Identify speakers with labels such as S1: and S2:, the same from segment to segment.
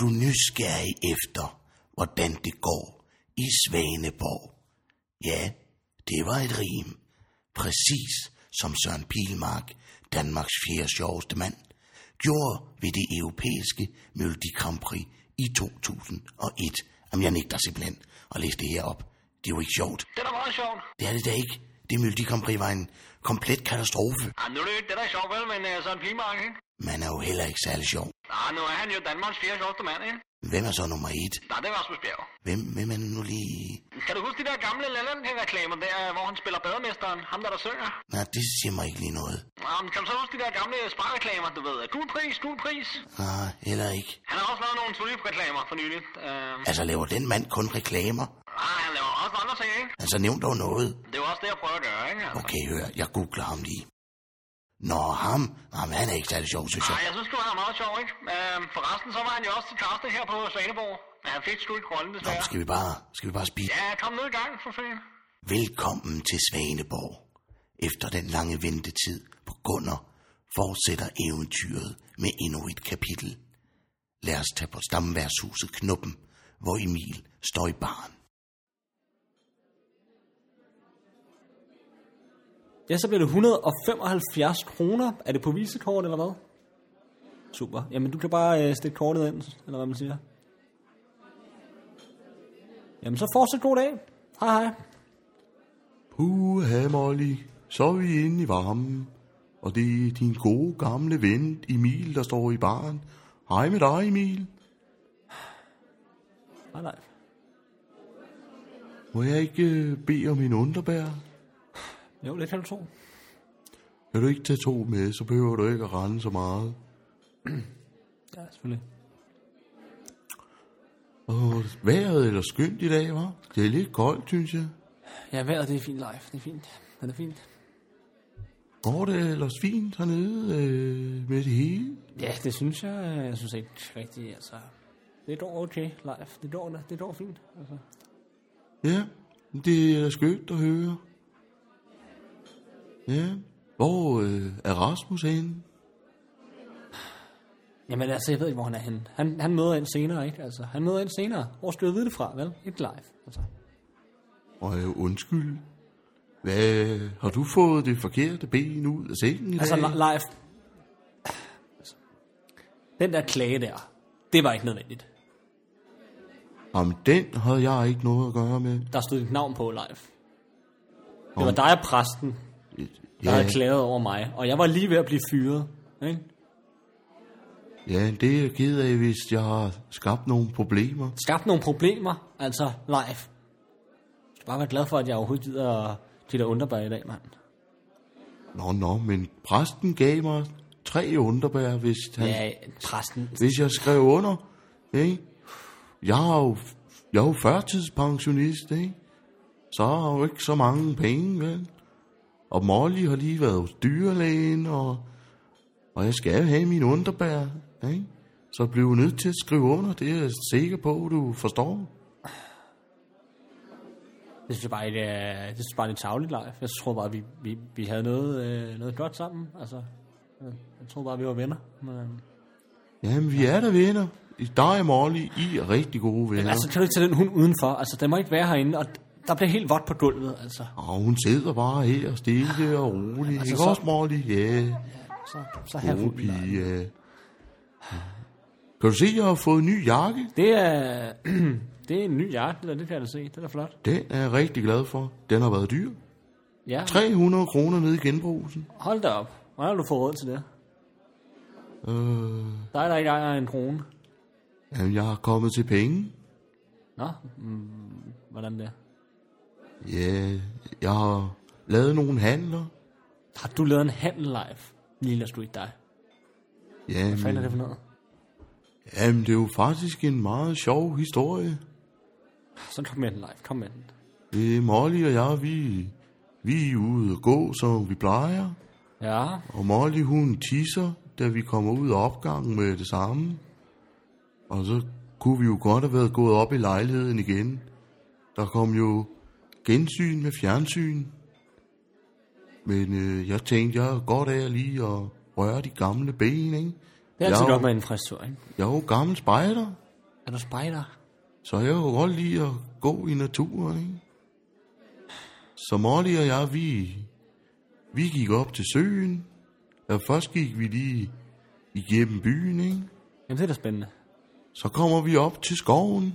S1: du nysgerrig efter, hvordan det går i Svaneborg. Ja, det var et rim. Præcis som Søren Pilmark, Danmarks fjerde sjoveste mand, gjorde ved det europæiske Melodi Grand Prix i 2001. Jamen, jeg nægter simpelthen at læse det her op. Det er jo ikke sjovt.
S2: Det er da meget sjovt.
S1: Det er det da ikke. Det Melodi Grand Prix var en komplet katastrofe.
S2: Ah, nu er det jo ikke det, der er sjovt, vel, men uh, Søren Pimark, ikke?
S1: Man er jo heller ikke særlig sjov.
S2: Ah, nu er han jo Danmarks fjerde sjoveste mand, ikke?
S1: Hvem er så nummer et?
S2: Nej, det er Rasmus Bjerg.
S1: Hvem, hvem er nu lige...
S2: Kan du huske de der gamle Lalandia-reklamer der, øh, hvor han spiller bademesteren? Ham der, der synger?
S1: Nej, det siger mig ikke lige noget.
S2: Um, kan du så huske de der gamle sparreklamer, du ved? Gul pris, gul pris.
S1: Nej, Ah, heller ikke.
S2: Han har også lavet nogle tulip-reklamer for nylig. Uh,
S1: Altså, laver den mand kun reklamer?
S2: ah, han laver også andre ting, ikke?
S1: Altså, nævn dog noget.
S2: Det er jo også det, jeg prøver at gøre, ikke? Altså.
S1: Okay, hør, jeg googler ham lige. Nå, ham, ham han er ikke særlig sjov, synes jeg.
S2: Nej, Altså, jeg synes, det var meget sjov, ikke? Uh, forresten, så var han jo også til casting her på Svaneborg. Men han fik sgu ikke rollen,
S1: Nå,
S2: desværre.
S1: skal vi bare, skal vi bare spise?
S2: Ja, kom nu i gang, for fanden.
S1: Velkommen til Svaneborg. Efter den lange ventetid på Gunner fortsætter eventyret med endnu et kapitel. Lad os tage på stamværshuset Knuppen, hvor Emil står i baren.
S3: Ja, så bliver det 175 kroner. Er det på visekort eller hvad? Super. Jamen, du kan bare øh, stikke kortet ind, eller hvad man siger. Jamen, så fortsat god dag. Hej hej.
S4: Puha, Molly, så er vi inde i varmen. Og det er din gode gamle ven Emil, der står i baren. Hej med dig, Emil.
S3: Hej nej.
S4: Må jeg ikke øh, bede om en underbær?
S3: Jo, det kan du tro.
S4: Kan du ikke tage to med, så behøver du ikke at rende så meget.
S3: Ja, selvfølgelig.
S4: Og vejret er da skønt i dag, var? Det er lidt koldt, synes jeg.
S3: Ja, vejret det er fint live. Det er fint. Det er fint.
S4: Går det ellers fint hernede øh, med det hele?
S3: Ja, det synes jeg. øh, Jeg synes ikke rigtigt, altså. Det går okay live. Det går, da- det går fint. Altså.
S4: Ja, det er da skønt at høre. Ja, hvor øh, er Rasmus henne?
S3: Jamen altså, jeg ved ikke, hvor han er henne. Han, han møder ind senere, ikke? Altså, han møder ind senere. Hvor skal jeg vide det fra, vel? Ikke live, altså.
S4: Og øh, undskyld, hvad, har du fået det forkerte ben ud af sengen i
S3: Altså,
S4: dag?
S3: li- live... Altså, Den der klage der, det var ikke nødvendigt.
S4: Jamen, den havde jeg ikke noget at gøre med.
S3: Der stod dit navn på live. Det var dig og præsten, der ja. havde klaget over mig. Og jeg var lige ved at blive fyret, ikke?
S4: ja, det er jeg ked af, hvis jeg har skabt nogle problemer.
S3: Skabt nogle problemer, altså live. Jeg skal bare være glad for, at jeg overhovedet gider til der underbær i dag, mand.
S4: Nå, nå, men præsten gav mig tre underbær, hvis han
S3: Ja, præsten.
S4: hvis jeg skrev under, ikke? Jeg er jo, jeg er jo førtidspensionist, ikke? Så har jeg jo ikke så mange penge, vel? Og Molly har lige været hos dyrlægen, og, og jeg skal have min underbær, ikke? Så blev nødt til at skrive under, det er jeg sikker på, du forstår.
S3: Det synes jeg bare ikke, øh, det synes jeg bare er lidt tavligt live. Jeg tror bare, vi, vi, vi havde noget, øh, noget godt sammen. Altså, øh, jeg tror bare, vi var venner. Men, øh,
S4: Jamen, vi er der venner. I dig og Molly, I er rigtig gode venner.
S3: altså, kan du ikke tage den hund udenfor? Altså, den må ikke være herinde, og der bliver helt vådt på gulvet, altså.
S4: Og Ah, hun sidder bare her, stille og roligt. Altså, ikke
S3: så-
S4: også, Molly? Ja.
S3: Så, så her
S4: Gode
S3: hunden. live.
S4: pige. ja. Kan du se, jeg har fået en ny jakke?
S3: Det er, det er en ny jakke, det, der, det kan jeg da se. Den er flot.
S4: Den er jeg rigtig glad for. Den har været dyr.
S3: Ja,
S4: 300 kroner nede i genbrugsen.
S3: hold da op. Hvordan har du fået råd til det?
S4: Øh,
S3: Der er der ikke ejer en krone.
S4: jamen, jeg har kommet til penge.
S3: Nå, mm, hvordan det?
S4: Ja, jeg har lavet nogle handler.
S3: Har du lavet en handel live? Lille sgu ikke dig. Hvad fanden er
S4: Jamen,
S3: det for noget?
S4: jamen, det er jo faktisk en meget sjov historie.
S3: Så kom med den live, kom med den.
S4: Øh, Molly og jeg, vi, vi er ude at gå, som vi plejer.
S3: Ja,
S4: Og Molly, hun tisser, da vi kommer ud af opgangen med det samme. Og så kunne vi jo godt have været gået op i lejligheden igen. Der kom jo gensyn med fjernsyn. Men øh, jeg tænkte, jeg er godt af lige at røre de gamle ben, ikke?
S3: det er altid
S4: jeg, er
S3: godt
S4: jo,
S3: med en frisør, ikke?
S4: jeg er jo gammel spejder.
S3: Er du spejder?
S4: Så jeg kunne godt lide at gå i naturen, ikke? Så Molly og jeg, vi, vi gik op til søen. Og først gik vi lige igennem byen, ikke?
S3: Jamen, det er da spændende.
S4: Så kommer vi op til skoven.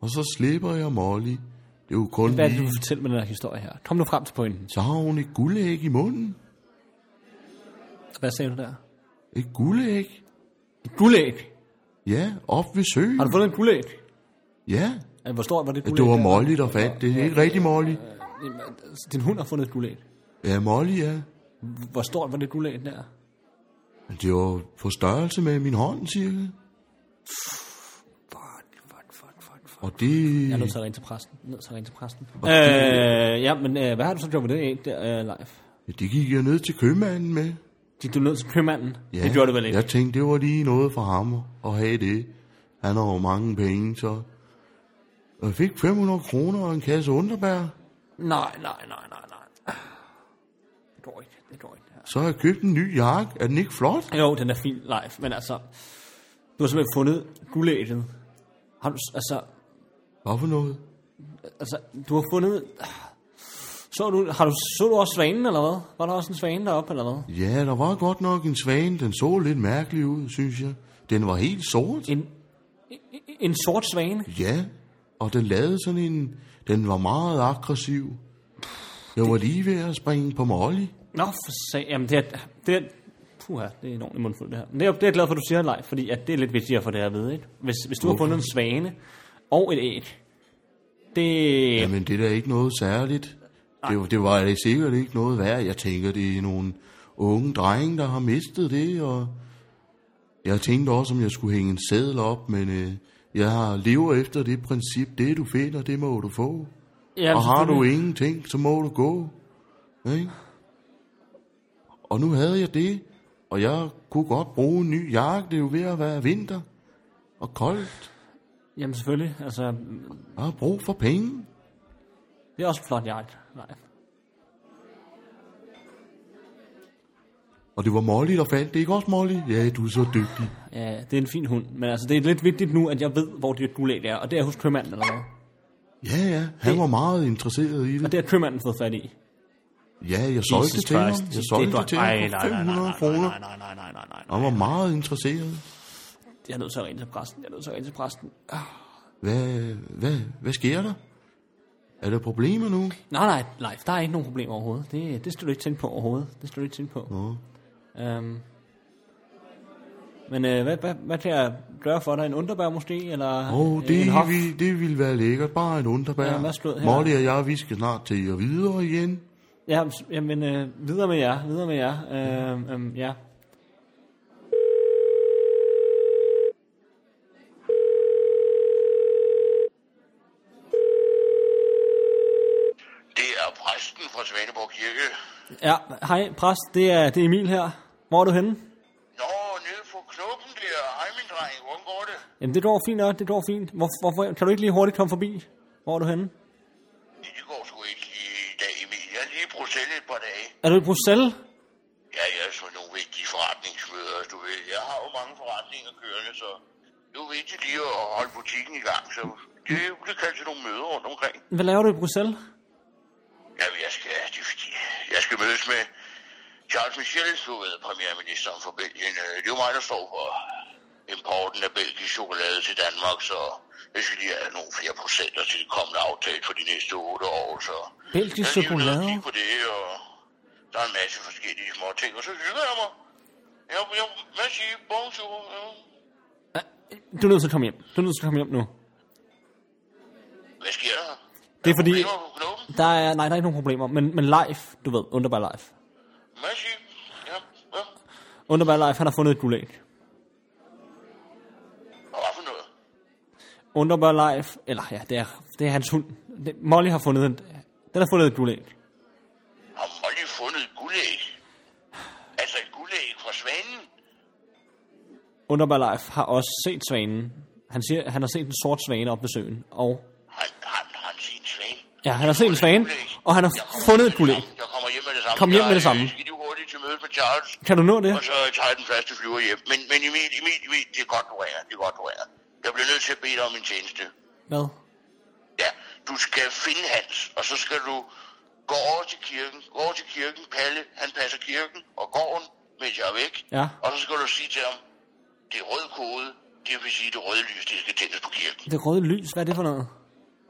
S4: Og så slipper jeg Molly. Det er jo kun
S3: Hvad er det, du
S4: lige...
S3: vil fortælle med den her historie her? Kom nu frem til pointen.
S4: Så har hun et guldæg i munden.
S3: Hvad sagde du der?
S4: Et guldæg?
S3: Et guldæg.
S4: Ja, op ved søen.
S3: Har du fundet en guldæg?
S4: Ja,
S3: Altså, Hvor stort var det guldæg?
S4: det var
S3: der?
S4: Molly, der fandt det. Ikke rigtig Molly.
S3: Jamen, altså, Din hund har fundet et guldæg.
S4: Ja, Molly, ja.
S3: Hvor stort var det guldæg der?
S4: Men Det var på størrelse med min hånd, cirka.
S3: Fuck, fuck, fuck, fuck, fuck.
S4: Og det...
S3: Jeg er nødt til at ringe til præsten. Jeg er nødt til at ringe til præsten. Øh, ja, men øh, hvad har du så gjort med det egentlig, øh, live?
S4: Ja, det gik jeg ned til købmanden med.
S3: Gik du ned til købmanden? Det gjorde du vel ikke?
S4: Jeg tænkte, det var lige noget for ham at have det. Han har jo mange penge, så... Og jeg fik 500 kroner og en kasse underbær.
S3: Nej, nej, nej, nej, nej. Det går ikke, det går ikke.
S4: Så har jeg købt en ny jakke. Er den ikke flot?
S3: Jo, den er fin live, men altså... Du har simpelthen fundet guldægget. Har du, s- altså,
S4: Hvad for noget?
S3: altså, du har fundet... Så du, har du, så du også svanen, eller hvad? Var der også en svane deroppe, eller hvad?
S4: Ja, der var godt nok en svane. Den så lidt mærkelig ud, synes jeg. Den var helt sort.
S3: En, en- en sort svane?
S4: Ja, og den lavede sådan en... Den var meget aggressiv. Jeg var lige ved at springe på Molly.
S3: Nå, for sag. Jamen, det er... Det er puha, det er en ordentlig mundfuld, det her. Men det er, det er jeg glad for, at du siger, Leif, fordi at det er lidt vigtigere for det her at vide, ikke? Hvis, hvis du har fundet en svane og et æg, det...
S4: Jamen, det er da ikke noget særligt. Det, det var da sikkert ikke noget værd. Jeg tænker, det er nogle unge drenge, der har mistet det, og jeg tænkte også, om jeg skulle hænge en sædel op, men øh, jeg har- lever efter det princip, det du finder, det må du få.
S3: ja,
S4: Og har du
S3: selvfølgelig.
S4: ingenting, så må du gå. Ikke? Og nu havde jeg det, og jeg kunne godt bruge en ny jakke. Det er jo ved at være vinter og koldt.
S3: Jamen, selvfølgelig. Altså,
S4: Jeg har brug for penge.
S3: det er også flot jagt, Leif.
S4: Og det var Molly, der fandt det. Ikke også Molly? Ja, du er så dygtig.
S3: Ja, det er en fin hund, men altså, det er lidt vigtigt nu, at jeg ved, hvor det guldæg er, og det er hos købmanden, eller hvad?
S4: Ja, ja. Han
S3: Det-
S4: var meget interesseret i
S3: Og
S4: det.
S3: det har købmanden fået fat i.
S4: Ja, jeg solgte det til ham. Jeg solgte det til ham for 500 kroner.
S3: Nej, nej, nej, nej, nej, nej, nej.
S4: Han var meget interesseret.
S3: Jeg er nødt til at ringe til præsten. Jeg er nødt til at ringe til præsten. Ah.
S4: Hvad, hvad, hvad sker der? Er der problemer nu?
S3: Nej, nej, Leif, der er ikke nogen problem overhovedet. Det, det skal du ikke tænke på overhovedet. Det skal du ikke tænke på.
S4: Nå.
S3: Øhm. Men øh, hvad, hvad, hvad kan jeg gøre for dig? En underbær måske? Eller
S4: Åh, oh,
S3: øh,
S4: det,
S3: en hof?
S4: vi, det ville være lækkert. Bare en underbær.
S3: Ja, hvad stod her?
S4: Molly og jeg, vi skal snart til jer videre igen.
S3: Ja, s- jamen, øh, videre med jer, videre med jer. Øh, øh, ja.
S5: Det er præsten fra Svaneborg Kirke.
S3: ja, hej præst, det er, det er Emil her. Hvor er du henne?
S5: Nå, nede på knoppen der. Hej, min dreng. Hvordan går det?
S3: Jamen, det går fint nok, det går fint. Hvor, hvorfor, kan du ikke lige hurtigt komme forbi? Hvor er du henne?
S5: Ja, Det går sgu ikke lige i dag, Emil. Jeg er lige i Bruxelles et par dage.
S3: Er du i Bruxelles?
S5: Ja, jeg er så nogle vigtige forretningsmøder, du ved. Jeg har jo mange forretninger kørende, så det er jo vigtigt lige at holde butikken i gang. Så det bliver kaldt til nogle møder rundt omkring.
S3: Hvad laver du i Bruxelles?
S5: Jamen, jeg skal, det er fordi, jeg skal mødes med Charles Michel, du ved, premierministeren for Belgien. Øh, Det er jo mig, der står for importen af belgisk chokolade til Danmark, så jeg skal lige have nogle flere procenter til det kommende aftale for de næste otte år, så...
S3: Belgisk
S5: Jeg er lige nede og
S3: chokolade?
S5: kigge på det, og der er en masse forskellige små ting, og så hygger jeg mig. Jeg, jeg, hvad siger, bonjour. øh.
S3: Du er nødt til at komme hjem. Du er nødt til at komme hjem nu.
S5: Hvad sker der?
S3: Det er fordi,
S5: Problemer på knoppen?
S3: der er, nej, der er ikke nogen problemer, men, men live, du ved, Underbar Live.
S5: Hvad siger, ja, ja.
S3: Underbar Live, han har fundet et guldæg.
S5: Og hvad for noget?
S3: Underbar Live, eller ja, det er, det er hans hund. Det, Molly har fundet en, den har fundet et guldæg.
S5: Har Molly fundet et guldæg? Altså et guldæg fra svanen?
S3: Underbar Live har også set svanen. Han siger, han har set en sort svane op ved søen, og
S5: Han, han, han sin svane.
S3: ja, han har set en svane, og han har fundet et guldæg.
S5: Jeg kommer hjem med det samme.
S3: Kom hjem med det
S5: Jeg, øh,
S3: samme.
S5: Skal du hurtigt til møde med Charles?
S3: Kan du nå det?
S5: Og så tager jeg den første flyver hjem. Men, men Emil, Emil, Emil, det er godt, du ringer. Det er godt, du ringer. Jeg bliver nødt til at bede dig om en tjeneste.
S3: Hvad?
S5: Ja, du skal finde Hans, og så skal du gå over til kirken. Gå over til kirken, Palle, han passer kirken og gården, mens jeg er væk.
S3: Ja.
S5: Og så skal du sige til ham, det er rød kode, det vil sige, det røde lys, det skal tændes på kirken.
S3: Det røde lys, hvad er det for noget?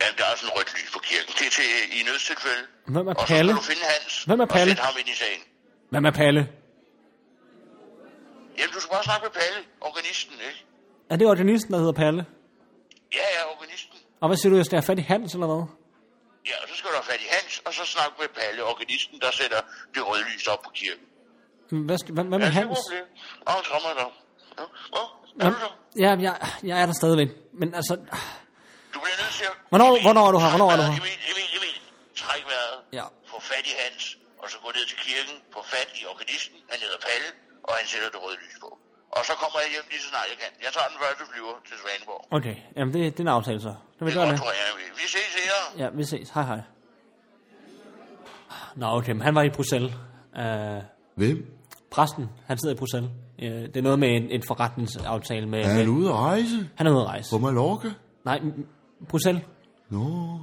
S5: Ja, der er sådan et rødt lys på kirken. Det er til øh, i nødstilfælde.
S3: Hvem er
S5: Og så
S3: Palle?
S5: skal du finde Hans
S3: Hvem er Palle?
S5: og sætte ham ind i sagen.
S3: Hvad med Palle?
S5: Jamen, du skal bare snakke med Palle, organisten, ikke?
S3: Er det organisten, der hedder Palle?
S5: Ja, ja, organisten.
S3: Og hvad siger du, jeg skal have fat i Hans eller hvad?
S5: Ja, og så skal du have fat i Hans, og så snakke med Palle, organisten, der sætter det røde lys op på kirken.
S3: Hvad, skal, hvad, hvad med
S5: Ja, det er
S3: Hans?
S5: problem. Åh, han trammer dig. Ja. Nå, er
S3: Hvad,
S5: du der?
S3: ja, jeg, jeg er der stadigvæk. Men altså,
S5: Du bliver nødt til at...
S3: Hvornår- hvornår er du her? Hvornår er du her?
S5: Emil, Emil, Emil. Træk vejret.
S3: Ja.
S5: Få fat i Hans, og så gå ned til kirken, få fat i organisten, han hedder Palle, og han sætter det røde lys på. Og så kommer jeg hjem lige så snart jeg kan. Jeg tager den første flyver til Svaneborg.
S3: okay, jamen det, det er en aftale så. Det vil jeg
S5: Det er
S3: gøre
S5: godt,
S3: det.
S5: tror jeg, Emil. Vi ses senere.
S3: Ja, vi ses. Hej hej. Nå, okay, men han var i Bruxelles. Uh,
S4: Hvem?
S3: præsten, han sidder i Bruxelles. Uh, det er noget med en, en forretningsaftale med...
S4: Er han
S3: med
S4: ude at rejse?
S3: han er ude at rejse.
S4: På Mallorca?
S3: Nej, m- Bruxelles.
S4: Nå,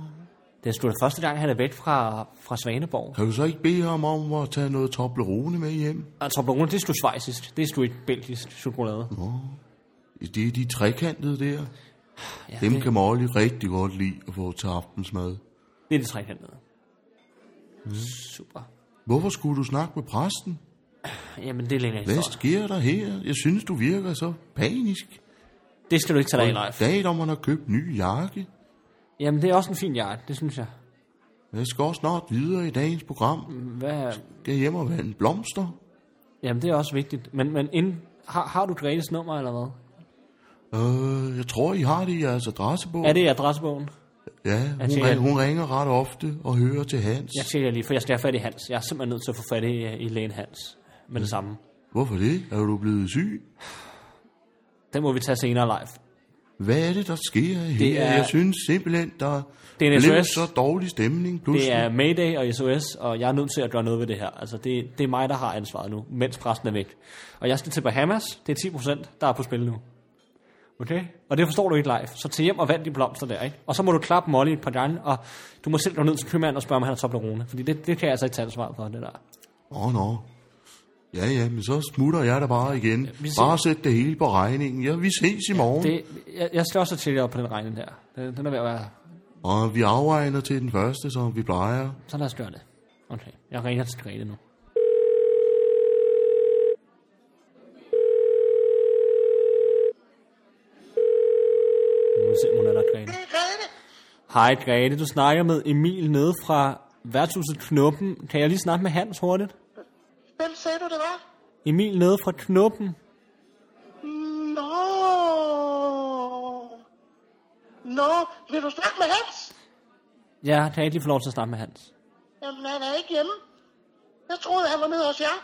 S3: Det er sgu da første gang, han er væk fra, fra Svaneborg.
S4: kan du så ikke bede ham om at tage noget Toblerone med hjem?
S3: Og Toblerone, det er sgu svejsisk. Det er sgu ikke belgisk chokolade.
S4: Det er de trekantede der.
S3: Ja,
S4: Dem
S3: det,
S4: kan Molly rigtig godt lide at få til aftensmad.
S3: det er det trekantede. Super.
S4: Hvorfor skulle du snakke med præsten?
S3: Jamen, det er lidt
S4: Hvad
S3: ekstra.
S4: sker der her? Jeg synes, du virker så panisk.
S3: Det skal du ikke tage dig af, Leif.
S4: Dag om, han har købt ny jakke.
S3: Jamen, det er også en fin jagt, det synes jeg.
S4: Jeg skal også snart videre i dagens program.
S3: Hvad,
S4: Skal hjem og vande blomster.
S3: jamen, det er også vigtigt. Men, men inden, har, har du Gretes nummer, eller hvad?
S4: Øh, jeg tror, I har det i jeres adressebog.
S3: Er det i adressebogen?
S4: Ja, hun,
S3: tænker,
S4: ring,
S3: at-
S4: hun ringer ret ofte og hører til Hans.
S3: Jeg tjekker lige, for jeg skal have fat i Hans. Jeg er simpelthen nødt til at få fat i, øh, i lægen Hans med det samme.
S4: Hvorfor det? Er du blevet syg?
S3: Den må vi tage senere, Leif.
S4: Hvad er det, der sker her?
S3: er-
S4: Jeg synes simpelthen, der
S3: Det er en
S4: blev
S3: SOS.
S4: så dårlig stemning pludselig.
S3: Det er Mayday og SOS, og jeg er nødt til at gøre noget ved det her. Altså, det, det er mig, der har ansvaret nu, mens præsten er væk. Og jeg skal til Bahamas. Det er 10 procent, der er på spil nu. Okay? Og det forstår du ikke live. Så til hjem og vand de blomster der, ikke? Og så må du klappe Molly et par gange, og du må selv gå ned til købmanden og spørge, om han har Toblerone. Fordi det, det kan jeg altså ikke tage ansvar for, det der.
S4: Åh, oh, nå. No. Ja, ja, men så smutter jeg da bare igen.
S3: vi ses.
S4: Bare sæt det hele på regningen. Ja, vi ses i morgen.
S3: det jeg, jeg skal også tjekke op på den regning der. Den, den er ved at være...
S4: Og vi afregner til den første, som vi plejer.
S3: Så lad os gøre det. Okay, jeg ringer til Grete nu. Nu må vi se, om hun er der, Grete. Hej Grete, du snakker med Emil nede fra værtshuset Knuppen. Kan jeg lige snakke med Hans hurtigt?
S6: Hvem sagde du, det var?
S3: Emil nede fra Knuppen.
S6: Nå. Nå, vil du snakke med Hans?
S3: Ja, kan jeg ikke lige få lov til at snakke med Hans?
S6: Jamen, han er ikke hjemme. Jeg troede, han var nede hos jer.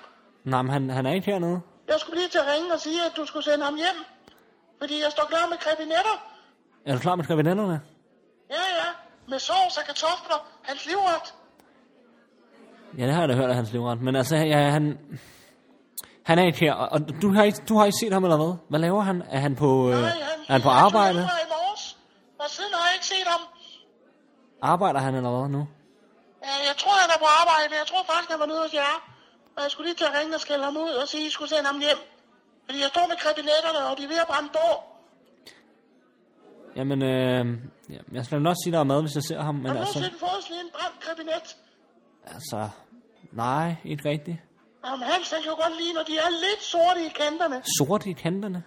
S3: Nej, men han, han er ikke hernede.
S6: Jeg skulle lige til at ringe og sige, at du skulle sende ham hjem. Fordi jeg står klar med krebinetter.
S3: Er du klar med skrivenderne?
S6: Ja, ja. Med sovs og kartofler. Hans livret.
S3: Ja, det har jeg da hørt af hans livret. Men altså, ja, han... Han er ikke her, og og du har ikke, du har ikke set ham eller hvad? Hvad laver han? Er han på, øh, er han på
S6: tog
S3: arbejde?
S6: livret i morges, og siden har jeg ikke set ham.
S3: Arbejder han eller hvad nu?
S6: Ja, Jeg tror, han er på arbejde. Jeg tror faktisk, han var nede hos jer. Og jeg skulle lige til at ringe og skælde ham ud og sige, at I skulle sende ham hjem. Fordi jeg står med krebinetterne, og de er ved at brænde på.
S3: Jamen, øh, ja, jeg skal nok sige, der er mad, hvis jeg ser ham, men
S6: Har du
S3: altså,
S6: nogensinde fået sådan en brændt krebinet?
S3: altså, nej, ikke rigtigt.
S6: Jamen, Hans, han kan jo godt lide, når de er lidt sorte i kanterne.
S3: Sort i kanterne.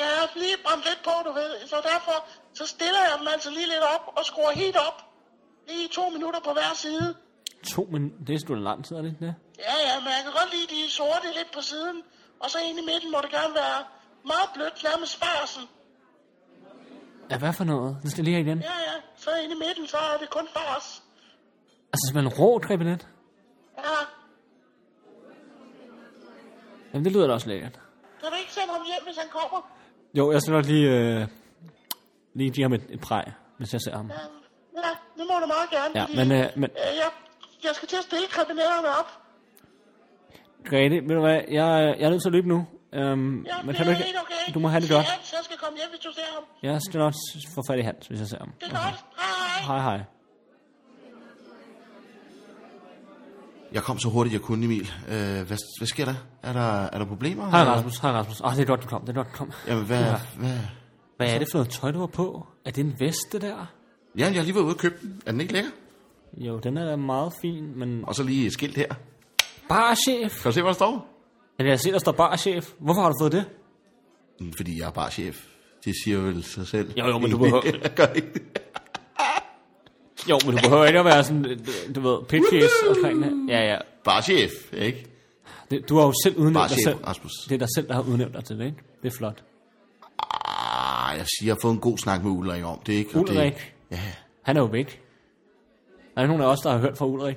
S6: Jeg har lige brændt lidt på, du ved. Så derfor, så stiller jeg dem altså lige lidt op og skruer helt op. Lige to minutter på hver side.
S3: To minutter, det er sgu da lang tid, er det ikke det?
S6: Ja, ja, men jeg kan godt lide de sorte lidt på siden. Og så ind i midten må det gerne være meget blødt, nærmest farsen.
S3: Ja, hvad for noget? Det skal jeg lige have igen.
S6: Ja, ja. Så inde i midten, så er det kun fars.
S3: Altså, som en rå krebinet.
S6: Ja,
S3: Jamen, det lyder da også lækkert.
S6: kan du ikke sende ham hjem, hvis han kommer?
S3: Jo, jeg skal nok lige, øh, lige give ham et, et præg, hvis jeg ser ham.
S6: Ja, Ja, det må du meget gerne.
S3: Ja,
S6: fordi,
S3: men, øh, men-
S6: øh, jeg, jeg skal til at stille kriminellerne op.
S3: Grete, ved du hvad, jeg, jeg er nødt til at løbe nu. Øhm,
S6: Ja,
S3: men kan du ikke...
S6: helt okay.
S3: Du må have det
S6: Sig
S3: godt.
S6: Hans, han skal komme hjem, hvis du ser ham.
S3: Jeg skal nok få fat i Hans, hvis jeg ser ham.
S6: Det er godt. Hej.
S3: Hej, hej.
S1: Jeg kom så hurtigt, jeg kunne, Emil. Øh, hvad, hvad sker der? Er der, er der problemer?
S3: Hej,
S1: Eller-
S3: Rasmus. Hej, Rasmus. Ah, det er godt, du kom. Det er godt, du kom.
S1: Jamen, hvad,
S3: Ja.
S1: hvad?
S3: Hvad er det for noget tøj, du har på? Er det en vest, det der?
S1: Ja, jeg har lige været ude og købe den. Er den ikke lækker?
S3: Jo, den er da meget fin, men...
S1: Og så lige et skilt her.
S3: Barchef!
S1: Kan du se, hvad der står?
S3: Men jeg ser, der står barchef. Hvorfor har du fået det?
S1: Mm, Fordi jeg er bare chef. Det siger vel sig selv.
S3: Jo, jo, men du behøver-
S1: Gør det ikke?
S3: Jo, men du behøver ikke at være sådan, du ved, pitches omkring det. Ja, ja.
S1: Bare chef, ikke?
S3: Det- Du har jo selv udnævnt dig
S1: Barchef,
S3: selv.
S1: Rasmus.
S3: Det er dig selv, der har udnævnt dig til det, ikke? Det er flot.
S1: Ah, jeg siger, jeg har fået en god snak med Ulrik om det, ikke? Og
S3: Ulrik.
S1: Det, ja.
S3: Han er jo væk. Der er ikke nogen af os, der har hørt fra Ulrik.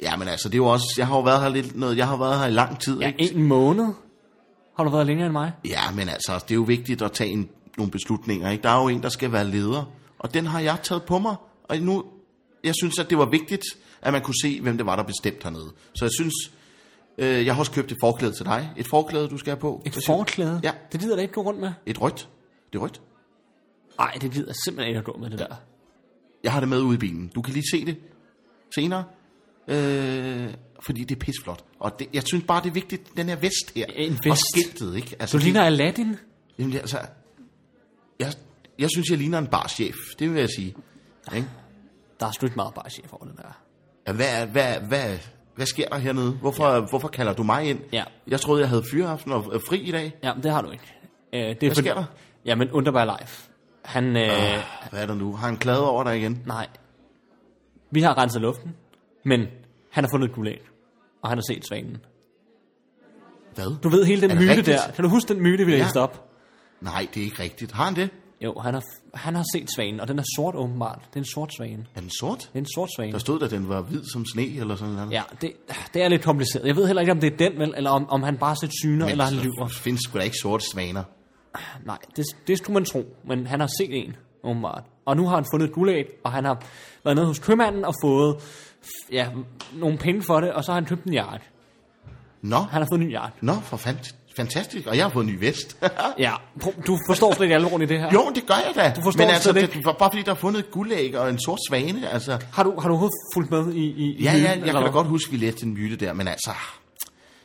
S1: ja, men altså, det er jo også... Jeg har jo været her lidt noget... Jeg har været her i lang tid,
S3: Ja,
S1: ikke?
S3: en måned har du været længere end mig.
S1: Ja, men altså, det er jo vigtigt at tage en, nogle beslutninger, ikke? Der er jo en, der skal være leder, og den har jeg taget på mig, og nu, jeg synes, at det var vigtigt, at man kunne se, hvem det var, der bestemte hernede. Så jeg synes, øh, jeg har også købt et forklæde til dig. Et forklæde, du skal have på.
S3: Et
S1: Hvad siger du?
S3: forklæde?
S1: Ja.
S3: Det gider da ikke gå rundt med.
S1: Et rødt. Det er rødt.
S3: Nej, det gider jeg simpelthen ikke at gå med det der.
S1: Jeg har det med ude i bilen. Du kan lige se det senere. Øh, fordi det er pisflot. Og det, jeg synes bare, det er vigtigt, den her vest her.
S3: En
S1: Og
S3: vest.
S1: skiltet, ikke? Altså,
S3: Du
S1: det-
S3: ligner Aladdin.
S1: Jamen det er altså, jeg, jeg synes, jeg ligner en barchef, det vil jeg sige. Ikke?
S3: Der er sgu ikke meget barchef over det der.
S1: Ja, Hvad, hvad, hvad, hvad sker der hernede? Hvorfor, ja. hvorfor kalder du mig ind?
S3: Ja.
S1: Jeg troede, jeg havde fyreaften og er fri i dag.
S3: Jamen, det har du ikke. Øh, det er
S1: Hvad sker der?
S3: Jamen, Underbar Life. Han, øh, øh.
S1: Hvad er der nu? Har han klaget over dig igen?
S3: nej. Vi har renset luften, men han har fundet et gulag, og han har set svanen.
S1: Hvad?
S3: Du ved hele
S1: Er
S3: den
S1: det
S3: myte
S1: rigtigt?
S3: der. Kan du huske den myte, vi læste op?
S1: Nej, det er ikke rigtigt. Har han det?
S3: Jo, han har, han har set svanen, og den er sort åbenbart. Det er en sort svane.
S1: Er den sort?
S3: Det er en sort svane.
S1: Der stod, at den var hvid som sne eller sådan noget.
S3: Ja, det, det er lidt kompliceret. Jeg ved heller ikke, om det er den, vel, eller om, om han bare har set syner, eller han lyver.
S1: Der findes sgu da ikke sorte svaner.
S3: Nej, det, det skulle man tro, men han har set en, åbenbart. Og nu har han fundet et guldæg, og han har været nede hos købmanden og fået f- ja, nogle penge for det, og så har han købt en jakke.
S1: Nå,
S3: Han har fået en ny jakke.
S1: Nå for fant- fantastisk. Og jeg har fået en ny vest.
S3: Ja, prøv- du forstår slet ikke alvoren i det her.
S1: Ah. Jo, det gør jeg da. Du
S3: forstår
S1: Men altså,
S3: slet
S1: det, det, bare fordi der er fundet et guldæg og en sort svane, altså...
S3: Har, du, har du overhovedet fulgt med i, i i
S1: Ja,
S3: myten,
S1: ja, jeg
S3: eller
S1: kan da
S3: hvad?
S1: godt huske, vi læste en myte der, men altså...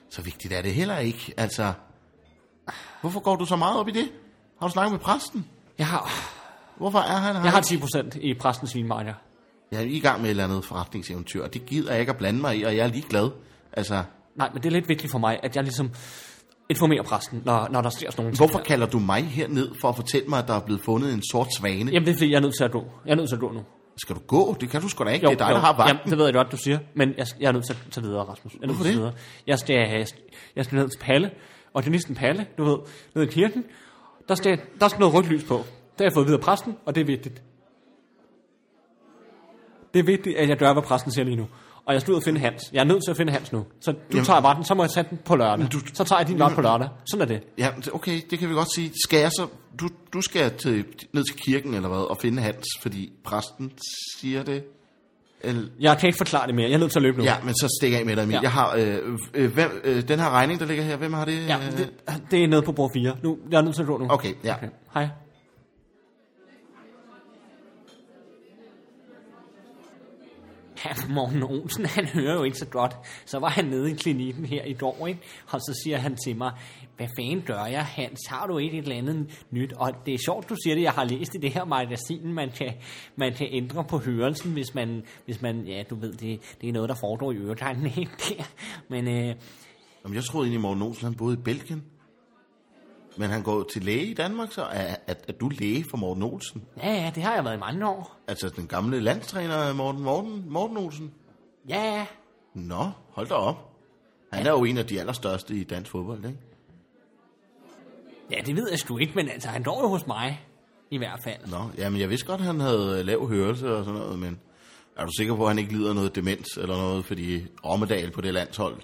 S1: Så vigtigt er det heller ikke, altså... Hvorfor går du så meget op i det? Har du snakket med præsten?
S3: Jeg har,
S1: Hvorfor er han her?
S3: jeg har 10% i præstens vinmarker.
S1: Jeg er i gang med et eller andet forretningseventyr, og det gider jeg ikke at blande mig i, og jeg er ligeglad. Altså,
S3: Nej, men det er lidt vigtigt for mig, at jeg ligesom informerer præsten, når, når der sker sådan nogle ting
S1: hvorfor
S3: her.
S1: kalder du mig herned for at fortælle mig, at der er blevet fundet en sort svane?
S3: Jamen, det er fordi, jeg er nødt til at gå. Jeg er nødt til at gå nu.
S1: Skal du gå? Det kan du sgu da ikke. det er dig, der har vagten.
S3: Jamen, det ved jeg godt, du siger. Men jeg, jeg er nødt til at tage videre, Rasmus. Jeg er nødt til at tage videre. Jeg skal, øh, jeg, jeg skal ned til Palle. Og det er næsten Palle, du ved, ned i kirken. Der skal, der skal noget rødt lys på. Det har jeg fået videre præsten, og det er vigtigt. Det er vigtigt, at jeg gør, hvad præsten siger lige nu. Og jeg skal ud og finde Hans. Jeg er nødt til at finde Hans nu. Så du Jamen. tager retten, så må jeg tage den på lørdag. Du, så tager jeg din ret på lørdag. Sådan er det.
S1: Ja, det- okay, det kan vi godt sige. Skal jeg så... Du, du skal til, ned til kirken eller hvad, og finde Hans, fordi præsten siger det. Eller,
S3: Jeg kan ikke forklare det mere. Jeg er nødt til at løbe nu.
S1: ja, men så stikker jeg med dig, Emil.
S3: Ja.
S1: Ja. Jeg har... Øh, øh, hvem, øh, den her regning, der ligger her, hvem har det?
S3: ja
S1: øh?
S3: det, det, er nede på bord 4. Nu, jeg er nødt til at gå nu.
S1: Okay, ja.
S3: Okay. Hej. Ja, Morten Olsen, han hører jo ikke så godt. Så var han nede i klinikken her i går, ikke? Og så siger han til mig, hvad fanden gør jeg, Hans? Har du ikke et eller andet nyt? Og det er sjovt, du siger det. Jeg har læst i det her magasin, man kan, man kan ændre på hørelsen, hvis man, hvis man ja, du ved, det, det er noget, der foregår i øretegnen, ikke? Der. Men øh,
S1: Jamen, jeg troede egentlig, Morten Olsen, han boede i Belgien. Men han går til læge i Danmark, så er, er, er du læge for Morten Olsen?
S3: ja, ja, det har jeg været i mange år.
S1: Altså den gamle landstræner Morten, Morten, Morten Olsen?
S3: Ja, ja.
S1: Nå, hold da op. Han er jo en af de allerstørste i dansk fodbold, ikke?
S3: Ja, det ved jeg sgu ikke, men altså, han går jo hos mig, i hvert fald.
S1: Nå, jamen jeg vidste godt, at han havde øh, lav hørelse og sådan noget, men er du sikker på, at han ikke lider noget demens eller noget, fordi Rommedal på det landshold,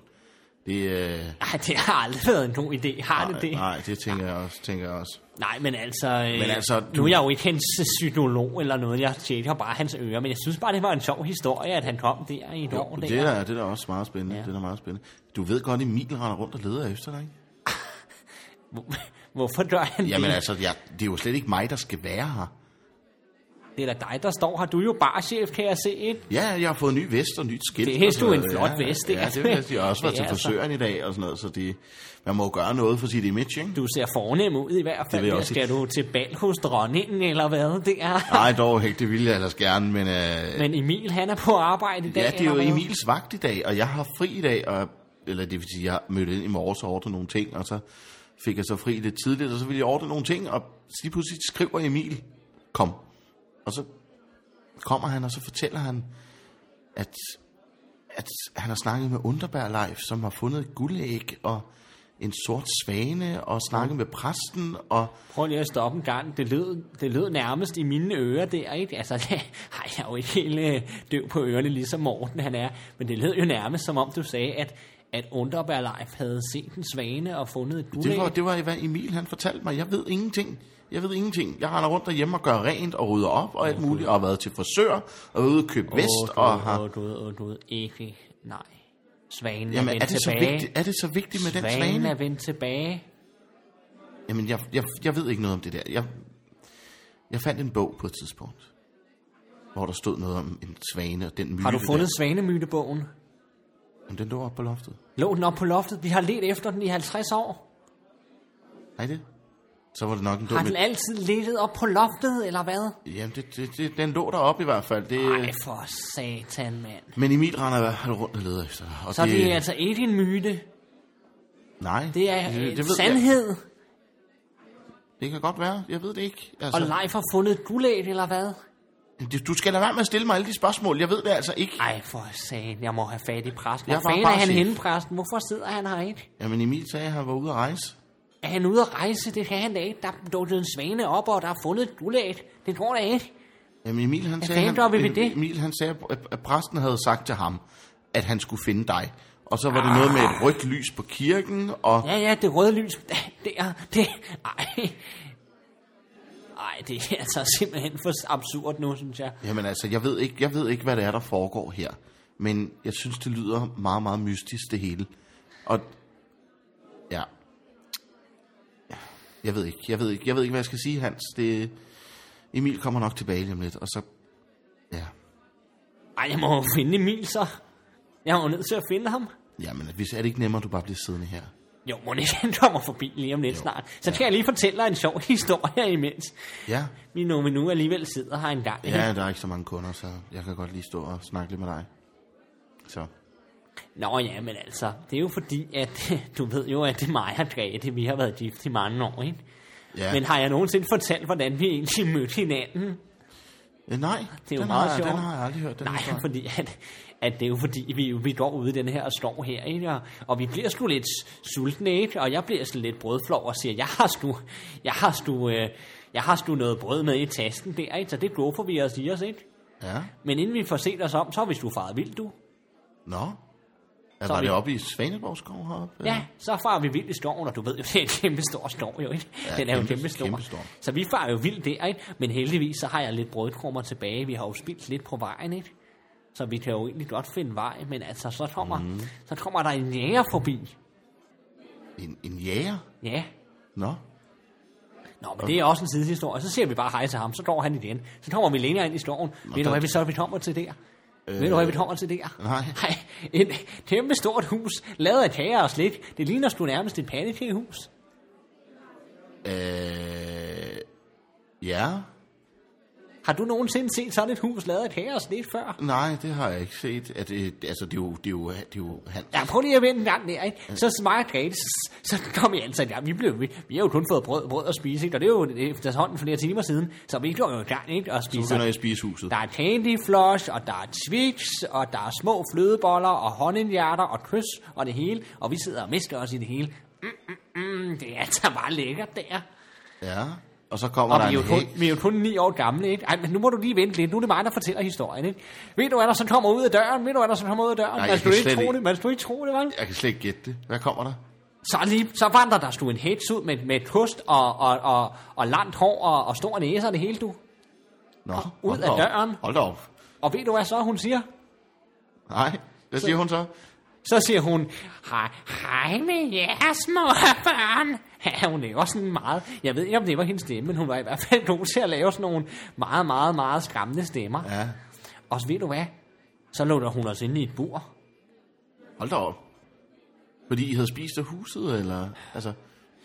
S1: det... Øh,
S3: Nej, det har aldrig været en god idé, har det det? Nej,
S1: nej, det tænker jeg også, tænker jeg også.
S3: men altså, øh,
S1: Men altså,
S3: nu
S1: du-
S3: er jeg jo ikke hans øh, psykolog eller noget, jeg tjekker bare hans ører, men jeg synes bare, det var en sjov historie, at han kom der i et år
S1: Jo,
S3: der.
S1: det, er, det er da også meget spændende,
S3: Ja.
S1: ja. det er da meget spændende. Du ved godt, Emil render rundt og leder efter dig, ikke?
S3: Hvor- Hvorfor gør han
S1: Jamen
S3: det?
S1: altså, jeg, det er jo slet ikke mig, der skal være her. altså-
S3: Det er da dig, der står her. Du er jo barchef, kan jeg se, ikke?
S1: Ja, jeg har fået ny vest og nyt skilt.
S3: Det er
S1: og sådan
S3: sgu en
S1: noget.
S3: flot
S1: ja,
S3: vest, det
S1: det
S3: er
S1: Ja, det vil jeg sige. Jeg har også været
S3: det
S1: til
S3: er altså.
S1: frisøren i dag og sådan noget, så det, man må jo gøre noget for sit image, ikke?
S3: Du ser fornem ud i hvert fald.
S1: vil jeg
S3: Ja,
S1: også
S3: Skal du til bal hos dronningen, eller hvad det er?
S1: Nej, dog ikke, det ville jeg ellers gerne, men... Øh,
S3: Men Emil, han er på arbejde i dag.
S1: ja, det er jo
S3: eller hvad?
S1: Emils vagt i dag, og jeg har fri i dag, og, eller det vil sige, jeg mødte ind i morges og ordnede nogle ting, og så fik jeg så fri lidt tidligt, og så ville jeg ordne nogle ting, og lige pludselig skriver Emil, kom. Og så kommer han, og så fortæller han, at, at han har snakket med Underberg Leif, som har fundet et guldæg og en sort svane, og snakket med præsten, og
S3: Prøv lige at stoppe en gang. Det lød, det lød nærmest i mine ører der, ikke? Altså, ej, jeg er jo ikke helt øh, døv på ørerne, ligesom Morten han er. Men det lød jo nærmest, som om du sagde, at, at Underberg Leif havde set en svane og fundet et guldæg.
S1: Det var, det var, hvad Emil han fortalte mig. Jeg ved ingenting. Jeg ved ingenting. Jeg render rundt derhjemme og gør rent og rydder op og alt muligt. Og har været til frisør og ude og købe vest.
S3: Åh,
S1: Og har...
S3: du, du, du, du, du, ikke, nej. Svanen er
S1: Jamen,
S3: vendt
S1: er det, så
S3: tilbage.
S1: vigtigt, er det så vigtigt med den
S3: Svanen er
S1: svane?
S3: vendt tilbage.
S1: Jamen, jeg, jeg, jeg ved ikke noget om det der. Jeg, jeg fandt en bog på et tidspunkt, hvor der stod noget om en svane og den myte
S3: Har du fundet
S1: Der.
S3: Svanemytebogen?
S1: Jamen, den lå oppe på loftet.
S3: Lå den op på loftet? Vi har let efter den i 50 år.
S1: Nej, det? Så var det nok en
S3: Har
S1: dum...
S3: den altid ligget op på loftet, eller hvad?
S1: Jamen, det, det, det, den lå deroppe i hvert fald. Det,
S3: Nej, for satan, mand.
S1: men Emil render i hvert fald rundt og leder efter dig. Og
S3: Så det er altså ikke en myte.
S1: Nej,
S3: Det er en
S1: ved jeg-
S3: sandhed.
S1: Det kan godt være. Jeg ved det ikke.
S3: Og
S1: Altså,
S3: Leif har fundet et guldæg, eller hvad?
S1: det- du skal lade være med at stille mig alle de spørgsmål. Jeg ved det altså ikke.
S3: Ej, for satan, jeg må have fat i præsten.
S1: Jeg
S3: Hvor
S1: var
S3: fanden
S1: bare
S3: er han
S1: chef.
S3: henne, præsten? Hvorfor sidder han her ikke?
S1: Jamen Emil sagde, at han var ude at rejse.
S3: Er han ude at rejse? Det kan han da ikke. Der er dukket en svane op, og der er fundet et guldæg. Det går da ikke.
S1: Jamen Emil han sagde,
S3: fanden gør vi ved det?
S1: Emil, han sagde at- at præsten havde sagt til ham, at han skulle finde dig. Og så var det noget med et rødt lys på kirken, og
S3: Ja, ja, det røde lys. Der, det... Ej. Ej, det er altså simpelthen for absurd nu, synes jeg.
S1: jamen altså, jeg ved, ikke, jeg ved ikke, hvad det er, der foregår her. Men jeg synes, det lyder meget, meget mystisk, det hele. Og ja, jeg ved ikke, jeg ved ikke, jeg ved ikke, hvad jeg skal sige, Hans. Det, Emil kommer nok tilbage lige om lidt, og så, ja,
S3: Ej, jeg må jo finde Emil så. Jeg er jo nødt til at finde ham.
S1: Jamen, hvis er det ikke nemmere, at du bare bliver siddende her?
S3: Jo, må ikke han kommer forbi lige om lidt snart. Så skal jeg lige fortælle dig en sjov historie imens.
S1: Ja.
S3: Vi nu, vi nu alligevel sidder her en gang.
S1: Ja, der er ikke så mange kunder, så jeg kan godt lige stå og snakke lidt med dig. Så.
S3: Nå ja, men altså, det er jo fordi, at du ved jo, at det er mig og Grete, vi har været gift i mange år, ikke?
S1: Ja.
S3: Men har jeg nogensinde fortalt, hvordan vi egentlig mødte hinanden?
S1: Øh, nej,
S3: Det er jo
S1: den,
S3: meget
S1: har, jeg-
S3: sjovt.
S1: den har jeg aldrig hørt. Den
S3: Nej,
S1: historie.
S3: fordi at, at det er jo fordi, vi, vi går ude i den her skov her, ikke? Og, og vi bliver sgu lidt sultne, ikke? Og jeg bliver sådan lidt brødflov og siger, jeg har sgu, jeg har sgu, øh, jeg har sgu noget brød med i tasken der, ikke? Så det gluffer vi os i os, ikke?
S1: Ja.
S3: Men inden vi får set os om, så er vi sgu faret vildt, du.
S1: Nå. Ja,
S3: Så er
S1: var
S3: vi-
S1: det oppe i Svaneborg skov heroppe? eller?
S3: Ja, så farer vi vildt i skoven, og du ved jo, det er en kæmpe stor skov, jo ikke? Ja, den er jo
S1: kæmpe-
S3: kæmpe stor.
S1: kæmpe stor.
S3: Så vi farer jo vildt der, ikke? Men heldigvis, så har jeg lidt brødkrummer tilbage. Vi har jo spildt lidt på vejen, ikke? Så vi kan jo egentlig godt finde vej, men altså, så kommer,
S1: Mhm.
S3: mm. så kommer der en jæger forbi.
S1: En, en jæger?
S3: Ja,
S1: Nå.
S3: Nå, men det er også en sidehistorie. Så ser vi bare hej til ham, så går han igen. Så kommer vi længere ind i skoven. Ved du,
S1: der-
S3: hvad vi så vi kommer til der? Øh, Ved du, hvad vi kommer til der?
S1: nej.
S3: Nej, et kæmpe stort hus, lavet af kager og slik. Det ligner sgu nærmest et pandekagehus.
S1: Øh, ja.
S3: Har du nogensinde set sådan et hus lavet af kager og slik før?
S1: Nej, det har jeg ikke set. At, øh, altså, det er jo, det er jo, det er jo han.
S3: Ja, prøv lige at vente en gang der, ikke? Så mig og Grete, så, så kom vi altså i gang. Vi, blev, vi, vi har jo kun fået brød, brød at spise, ikke? Og det er jo efterhånden flere timer siden, så vi går jo i gang, ikke? Og
S1: Nu
S3: spiser.
S1: begynder jeg at spise huset.
S3: Der er candyfloss, og der er twix, og der er små flødeboller, og honninghjerter, og kys, og det hele. Og vi sidder og mister os i det hele. Mm, mm, mm, det er altså bare lækkert, der.
S1: Ja. Og så kommer
S3: Og
S1: der
S3: vi er, jo
S1: en
S3: kun,
S1: hæk.
S3: vi er jo kun ni år gamle, ikke? Ej, men nu må du lige vente lidt. Nu er det mig, der fortæller historien, ikke? Ved du, hvad der så kommer ud af døren? Ved du, hvad der så kommer ud af døren?
S1: Nej,
S3: man
S1: jeg
S3: skulle
S1: kan
S3: ikke
S1: slet
S3: tro
S1: ikke.
S3: det. Man skulle ikke tro det, vel?
S1: Jeg kan slet ikke gætte det. Hvad kommer der?
S3: Så, lige, så vandrer der stod en heks ud med, med kost og, og, og, og langt hår og, og stor næse og det hele, du.
S1: Nå,
S3: ud
S1: hold
S3: af
S1: da op.
S3: døren.
S1: Hold da op.
S3: Og ved du, hvad så hun siger?
S1: Nej, hvad siger hun så?
S3: Så siger hun, hej, hej med jer, små børn. Ja, hun laver sådan meget, jeg ved ikke, om det var hendes stemme, men hun var i hvert fald god til at lave sådan nogle meget, meget, meget skræmmende stemmer.
S4: Ja.
S3: Og så ved du hvad? Så lukker hun os ind i et bur.
S4: Hold da op. Fordi I havde spist af huset, eller... Altså,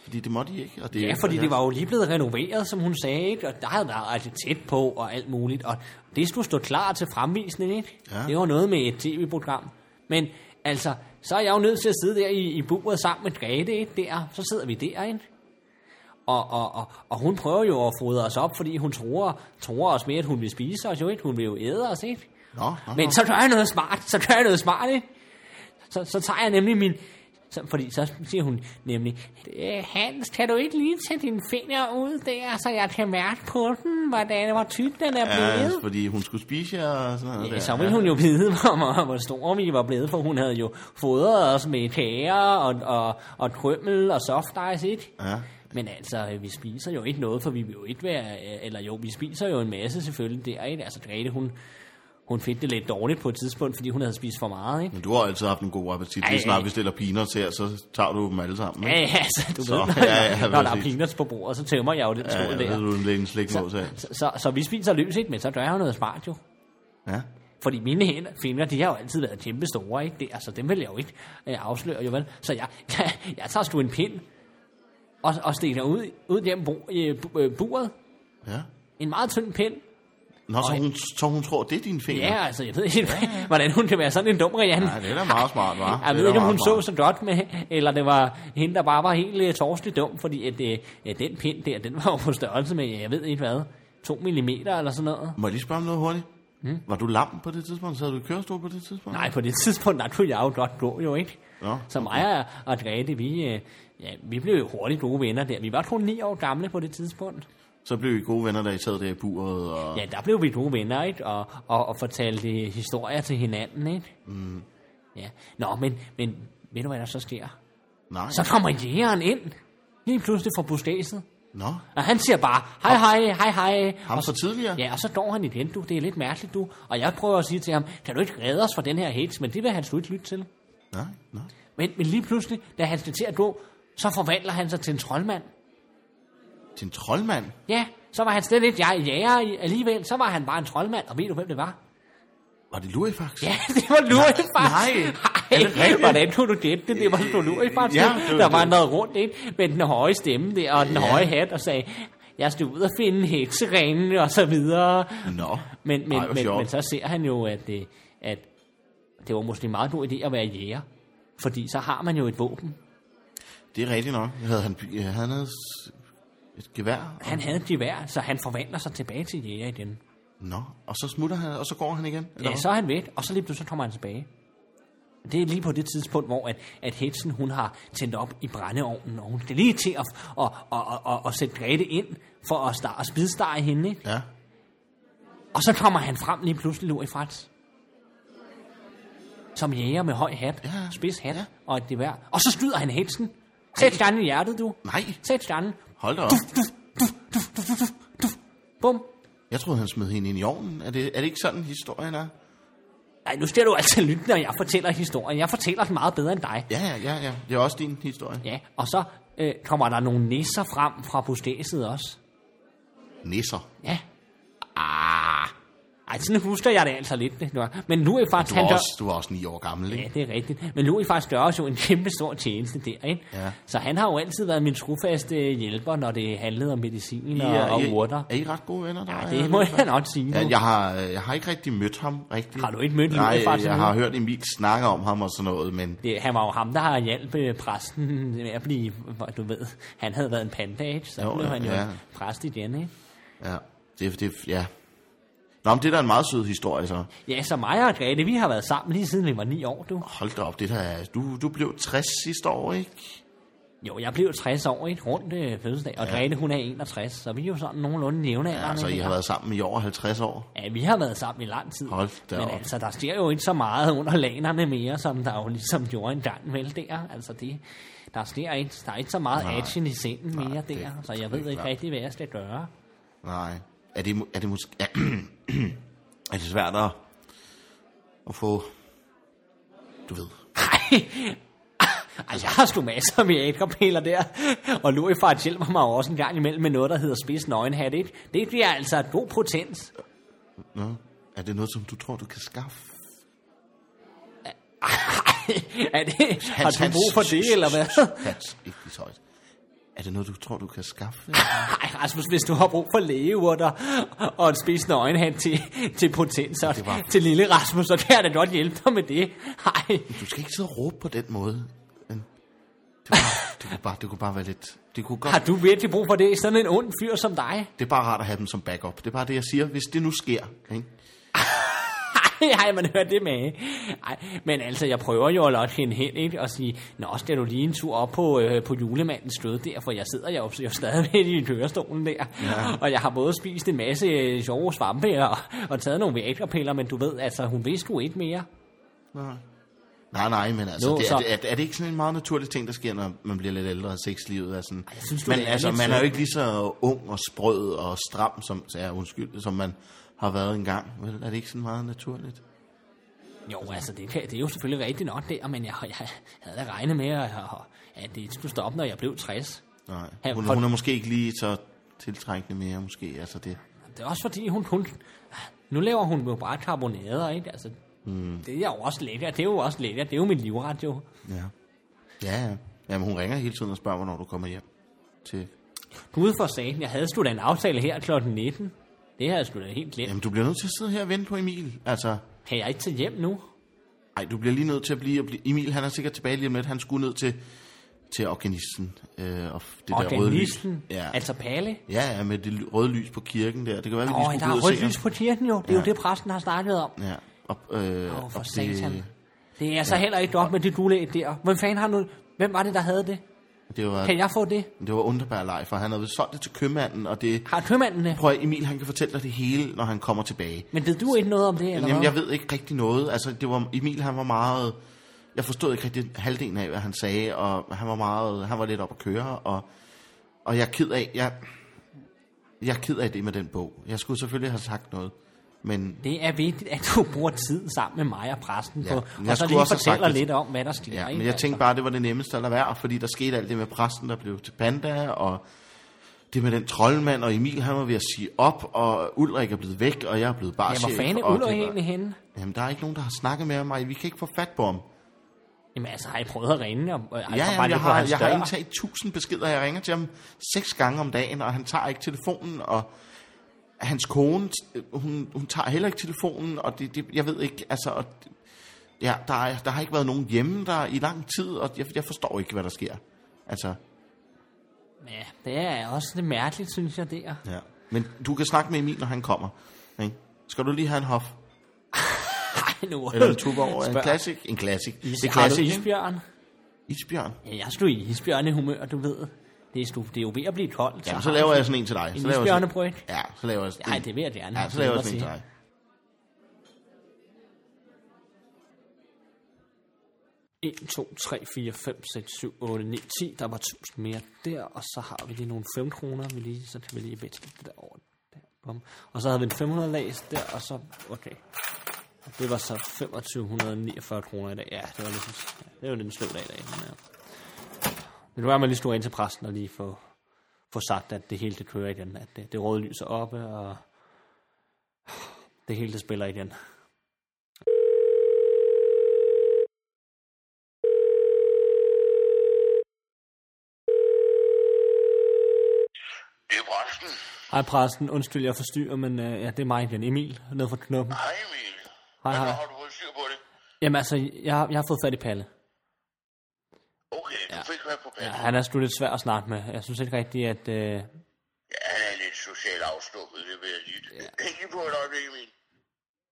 S4: fordi det måtte I ikke. Og det,
S3: Ja, fordi det var jo lige blevet renoveret, som hun sagde, ikke? og der havde været arkitekt på og alt muligt, og det skulle stå klar til fremvisning, ikke?
S4: Ja.
S3: Det var noget med et tv-program. Men altså, så er jeg jo nødt til at sidde der i, i buret sammen med Grete, ikke? Der, så sidder vi der, ikke? Og, og, og, og hun prøver jo at fodre os op, fordi hun tror, tror os med, at hun vil spise os jo, ikke? Hun vil jo æde os, ikke?
S4: Nå, nå,
S3: Men så gør jeg noget smart, så gør jeg noget smart, ikke? Så, så tager jeg nemlig min... Så, fordi så siger hun nemlig, "Øh, Hans, kan du ikke lige tage dine fingre ud der, så jeg kan mærke på den, hvordan, hvor tyk den er
S4: Ja, altså,
S3: blevet?
S4: fordi hun skulle spise jer og sådan noget.
S3: Ja,
S4: der.
S3: så ville hun jo vide, hvor, hvor- hvor stor vi var blevet, for hun havde jo fodret os med kager og, og, og krømmel og soft ice, ikke?
S4: Ja.
S3: Men altså, øh, vi spiser jo ikke noget, for vi vil jo ikke være... øh, Eller jo, vi spiser jo en masse selvfølgelig der, ikke? Altså, Grete, hun, hun fik det lidt dårligt på et tidspunkt, fordi hun havde spist for meget, ikke?
S4: Men du har altid haft en god appetit.
S3: Ej,
S4: Lige snart
S3: ej.
S4: vi stiller peanuts her, så tager du dem alle sammen.
S3: Ja, ja, altså, du
S4: Så,
S3: så, ved, når,
S4: ja, ja,
S3: ja, når der er
S4: præcis.
S3: peanuts på bordet, så tømmer jeg jo den
S4: ja,
S3: skål
S4: ja,
S3: der.
S4: du en lille slikmås af.
S3: Så, så, så vi spiser løs, ikke? Men så gør jeg jo noget smart, jo.
S4: Ja.
S3: Fordi mine hænder, fingre, de har jo altid været kæmpe store, ikke? Det, altså, dem vil jeg jo ikke øh, afsløre, jo vel? Så jeg, jeg, jeg tager sgu en pind og, og stikker ud, ud gennem bo, øh, bu- øh, buret.
S4: ja.
S3: En meget tynd pind.
S4: Nå, så hun, så hun tror, det er dine fingre.
S3: Ja, altså, jeg ved ikke, hvordan hun kan være sådan en dum Rianne.
S4: Ja, det er da meget smart, hva'?
S3: Jeg
S4: Det er
S3: ved
S4: da
S3: ikke, om
S4: meget
S3: hun så
S4: smart.
S3: så godt med, eller det var hende, der bare var helt øh, torskelig dum, fordi at, øh, ja, den pind der, den var jo på størrelse med, jeg ved ikke hvad, 2 mm eller sådan noget.
S4: Må jeg lige spørge om noget hurtigt? Hmm? Var du lam på det tidspunkt? Sad du i kørestol på det tidspunkt?
S3: Nej, på det tidspunkt, der kunne jeg jo godt gå, jo ikke?
S4: Nå,
S3: Så mig og, og Grete, vi, øh, ja, vi blev jo hurtigt gode venner der. Vi var kun 9 år gamle på det tidspunkt.
S4: Så blev I gode venner, da I sad der i buret. Og...
S3: Ja, der blev vi gode venner, ikke? Og, og, og fortalte øh, historier til hinanden, ikke? Mm. Ja. Nå, men, men ved du, hvad der så sker?
S4: Nej.
S3: Så kommer jægeren ind, lige pludselig fra buskæset.
S4: Nå,
S3: Og han siger bare, hej hej, hej hej.
S4: ham
S3: og
S4: fra
S3: så,
S4: tidligere?
S3: ja, og så går han igen, du. Det er lidt mærkeligt, du. Og jeg prøver at sige til ham, kan du ikke redde os fra den her hate? Men det vil han sgu ikke lytte til.
S4: Nej, nej.
S3: Men, men lige pludselig, da han skal til at gå, så forvandler han sig til en troldmand.
S4: Til en troldmand?
S3: Ja, så var han slet ikke jeg jæger i- alligevel. Så var han bare en troldmand, og ved du, hvem det var?
S4: Var det Lurifax?
S3: Ja, det var Lurifax.
S4: nej.
S3: Nej, hvordan kunne du gætte det? Det var sgu Lurifax,
S4: Ja,
S3: ja,
S4: det var
S3: der
S4: det.
S3: vandrede rundt ind med den høje stemme der, og den ja. høje hat, og sagde, jeg skal ud og finde hekseringen, og så videre.
S4: Nå.
S3: Men, men,
S4: Ej, hvor
S3: men,
S4: sjovt.
S3: men så ser han jo, at det, at det var måske en meget god idé at være jæger. Fordi så har man jo et våben.
S4: Det er rigtigt nok. Havde han, by- han havde s- et gevær?
S3: Han havde et gevær, så han forvandler sig tilbage til jæger igen.
S4: Nå, og så smutter han, og så går han igen? eller
S3: Ja,
S4: hvad?
S3: så er han væk, og så lige pludselig kommer han tilbage. Det er lige på det tidspunkt, hvor at, at Hedsen, hun har tændt op i brændeovnen, og hun skal lige til at, at, at, at, at, at sætte Grete ind for at, start, at spidstege hende. ikke?
S4: Ja.
S3: Og så kommer han frem lige pludselig, Louis Frats. Som jæger med høj hat,
S4: Ja,
S3: ja, spids hat
S4: ja.
S3: ja. og et gevær. Og så skyder han Hedsen. Sæt stjernen i hjertet, du.
S4: Nej,
S3: Sæt stjernen.
S4: hold da op.
S3: Bum.
S4: Jeg troede, han smed hende ind i ovnen. Er det, er det ikke sådan, historien er?
S3: Ej, nu skal du altså lytte, når jeg fortæller historien. Jeg fortæller den meget bedre end dig.
S4: Ja, ja, ja, ja. Det er også din historie.
S3: Ja, og så øh, kommer der nogle nisser frem fra postæset også.
S4: Nisser.
S3: Ja. Ah. Ej, sådan husker jeg det altså lidt. Det var- Men nu er
S4: Du
S3: faktisk...
S4: var,
S3: han gør-
S4: også, du var også ni år gammel, ikke?
S3: Ja, det er rigtigt. Men Louis faktisk gør os jo en kæmpe stor tjeneste der, ikke?
S4: Ja.
S3: Så han har jo altid været min trofaste øh, hjælper, når det handlede om medicin og,
S4: er,
S3: og
S4: I,
S3: urter.
S4: er I ret gode venner? Der?
S3: Ja, det må jeg nok sige.
S4: Ja,
S3: nu.
S4: jeg, har, øh, jeg har ikke rigtig mødt ham rigtigt.
S3: Har du ikke mødt
S4: Nej,
S3: Lurifax
S4: jeg
S3: endnu?
S4: har hørt Emil snakke om ham og sådan noget, men
S3: Det, han var jo ham, der har hjælp øh, præsten med at blive, hvor du ved, han havde været en panda, ikke? Så
S4: Jo,
S3: jo, blev
S4: ja,
S3: han jo
S4: ja.
S3: ja. præst igen, ikke?
S4: ja, det, det, ja. Nå, men det er da en meget sød historie, så.
S3: Ja, så mig og Grete, vi har været sammen lige siden vi var ni år, du.
S4: Hold da op, det der, er- du, du blev 60 sidste år, ikke?
S3: Jo, jeg blev 60 år i et rundt øh, fødselsdag, og ja. Grete, hun er 61, så vi er jo sådan nogenlunde jævne
S4: Ja, så I har været sammen i over 50 år.
S3: Ja, vi har været sammen i lang tid.
S4: Hold da
S3: Men
S4: op.
S3: altså, der sker jo ikke så meget under lanerne mere, som der jo ligesom gjorde engang vel der. Altså, det, der sker ikke, der er ikke så meget
S4: Nej.
S3: action i scenen
S4: Nej,
S3: mere der,
S4: det-
S3: så
S4: det
S3: jeg
S4: er
S3: ved ikke
S4: klart.
S3: rigtig, hvad jeg skal gøre.
S4: Nej. Er det, mu- er det måske... er det svært at, at få... Du ved.
S3: Nej, Ej, jeg har sgu masser af viagra der. Og Lurifart hjælper mig jo også en gang imellem med noget, der hedder spids nøgenhat, ikke? Det bliver altså et god potens.
S1: Nå, er det noget, som du tror, du kan skaffe?
S3: er det, har du brug for det, eller hvad?
S1: Hans, ikke lige så højt. Er det noget, du tror, du kan skaffe?
S3: Ej, Rasmus, hvis du har brug for lægeurter og en spidsende øjenhand til, til potenser
S1: var-
S3: til lille Rasmus, så kan jeg da godt hjælpe dig med det. Ej,
S1: Du skal ikke sidde og råbe på den måde. Men det, var, det, kunne bare, det kunne bare være lidt... Det, kunne godt,
S3: har du virkelig brug for det? Sådan en ond fyr som dig?
S1: det er bare rart at have dem som backup. Det er bare det, jeg siger, hvis det nu sker. Ikke?
S3: Ej, har man hørt det med? Ej, men altså, jeg prøver jo at lokke hende hen, ikke? Og sige, nå, skal du lige en tur op på, øh, på julemandens stød der, for jeg sidder jo, jo stadigvæk i kørestolen der. Ja. Og jeg har både spist en masse øh, sjove svampe og, og taget nogle viagrapiller, men du ved, altså, hun vidste sgu ikke mere.
S1: Nej, nej, men altså,
S3: Jo,
S1: det,
S3: så-
S1: er, det, er, er det ikke sådan en meget naturlig ting, der sker, når man bliver lidt ældre, og sexlivet er sådan... Jeg
S3: synes, du
S1: men
S3: er
S1: altså,
S3: lidt
S1: man er jo
S3: sød.
S1: ikke lige så ung og sprød og stram, som, så ja, undskyld, som man har været engang. Vel, er det ikke sådan meget naturligt?
S3: Jo, altså, det, kan, det er jo selvfølgelig rigtigt nok der, men jeg, jeg havde da regnet med, at, at det skulle stoppe, når jeg blev 60.
S1: Nej,
S3: Ja,
S1: hun,
S3: for-
S1: hun er måske ikke lige så tiltrækkende mere, måske. Altså, det,
S3: Det er også fordi, hun kun... Nu laver hun jo bare karbonader, ikke? Altså, mm. Det er jo også lækkert, det er jo også lækkert, det er jo min livret, jo.
S1: ja. Ja, ja. Jamen, hun ringer hele tiden og spørger, hvornår du kommer hjem til...
S3: Gud for satan, jeg havde sgu da en aftale her kl. 19. Det havde jeg sgu da helt glemt.
S1: Jamen, du bliver nødt til at sidde her og vente på Emil. Altså,
S3: Kan jeg ikke tage hjem nu?
S1: Nej, du bliver lige nødt til at blive, og blive... Emil, han er sikkert tilbage lige om lidt. Han skulle ned til, til organisten. Øh, og f- det der røde lys.
S3: Organisten,
S1: Ja.
S3: altså Palle.
S1: ja, ja, med det ly- røde lys på kirken der. Det kan være, vi
S3: Nå,
S1: lige skulle
S3: der
S1: gå
S3: er
S1: ud og
S3: rødt
S1: se
S3: lys
S1: ham.
S3: på kirken jo. Det er jo
S1: Ja.
S3: det, præsten har snakket om.
S1: Ja, og, øh,
S3: Åh, for
S1: og
S3: satan.
S1: det,
S3: Det er så heller ikke godt med det gulæg der. Hvem fanden har nu... Hvem var det, der havde det?
S1: det var,
S3: Kan jeg få det?
S1: det var Underberg Leif, og han havde vist solgt det til købmanden, og det...
S3: Har købmanden det?
S1: Prøv at Emil, han kan fortælle dig det hele, når han kommer tilbage.
S3: Men ved du ikke noget om det, eller
S1: Jamen,
S3: hvad?
S1: jeg ved ikke rigtig noget. Altså, det var, Emil, han var meget... Jeg forstod ikke rigtig halvdelen af, hvad han sagde, og han var meget... Han var lidt op at køre, og, og jeg er ked af... Jeg, jeg er ked af det med den bog. Jeg skulle selvfølgelig have sagt noget, men
S3: Det er vigtigt, at du bruger tid sammen med mig og præsten
S1: Ja,
S3: ja, på,
S1: men jeg
S3: og så
S1: skulle
S3: lige
S1: også have sagt
S3: fortæller
S1: det.
S3: lidt om, hvad der sker.
S1: Ja,
S3: ikke?
S1: men jeg tænkte bare, det var det nemmeste at lade være, fordi der skete alt det med præsten, der blev til panda, og det med den troldmand, og Emil, han var ved at sige op, og Ulrik er blevet væk, og jeg er blevet bare
S3: Altså, Ja, hvor fanden er Ulrik egentlig henne?
S1: Jamen, der er ikke nogen, der har snakket med mig. Vi kan ikke få fat på ham.
S3: Jamen altså, har I prøvet at ringe? Og, og,
S1: Ja, ja jeg, har, jeg har indtaget tusind beskeder. Jeg ringer til ham seks gange om dagen, og han tager ikke telefonen, og hans kone, øh, hun, hun tager heller ikke telefonen, og det, det, jeg ved ikke, altså... Og, det- ja, der, er, der har ikke været nogen hjemme der i lang tid, og jeg, jeg forstår ikke, hvad der sker. Altså,
S3: Ja, det er også lidt mærkeligt, synes jeg, der.
S1: ja. Men du kan snakke med Emil, når han kommer. Ikke? Skal du lige have en hof?
S3: Ej, nu.
S1: Eller en tuborg? en
S3: Spørg.
S1: classic? En classic.
S3: Is,
S1: det er
S3: har du
S1: classic, ikke?
S3: isbjørn?
S1: Isbjørn.
S3: Ja, jeg er sgu i isbjørnehumør, du ved. Det er, sgu, det er jo ved at blive koldt.
S1: Jamen, så laver jeg sådan en til dig.
S3: En
S1: Så laver jeg sådan,
S3: isbjørnebryg?
S1: ja, så laver jeg sådan
S3: Nej, det vil jeg gerne.
S1: Ja, så laver jeg sådan en til dig.
S3: til 1, 2, 3, 4, 5, 6, 7, 8, 9, 10. Der var 1000 mere der, og så har vi lige nogle 5 kroner. Vi lige, så kan vi lige veksle det der over. Der. Bum. Og så havde vi en 500 lags der, og så... Okay. Og Det var så 2549 kroner i dag. Ja, det var lidt, ja, det var lidt en sløv dag i dag. Men, ja. men nu er man lige stået ind til præsten og lige få, få sagt, at det hele det kører igen. At det, det røde lys er oppe, og det hele det spiller igen.
S5: Det er Brøsten.
S3: Hej præsten, undskyld jeg forstyrrer, men øh, ja, det er mig igen, Emil, nede fra Knuppen.
S5: Hej Emil.
S3: Hej,
S5: Hvad
S3: hej.
S5: har du fået styr på det?
S3: Jamen altså, jeg, har- jeg har fået fat i Palle.
S5: Okay, du fik mig på
S3: Ja,
S5: banen.
S3: han er sgu lidt svær at snakke med. Jeg synes ikke rigtigt, at... Øh,
S5: Ja, han er lidt socialt afstumpet, det vil jeg sige. Ja. Hæng lige på et øjeblik, Emil.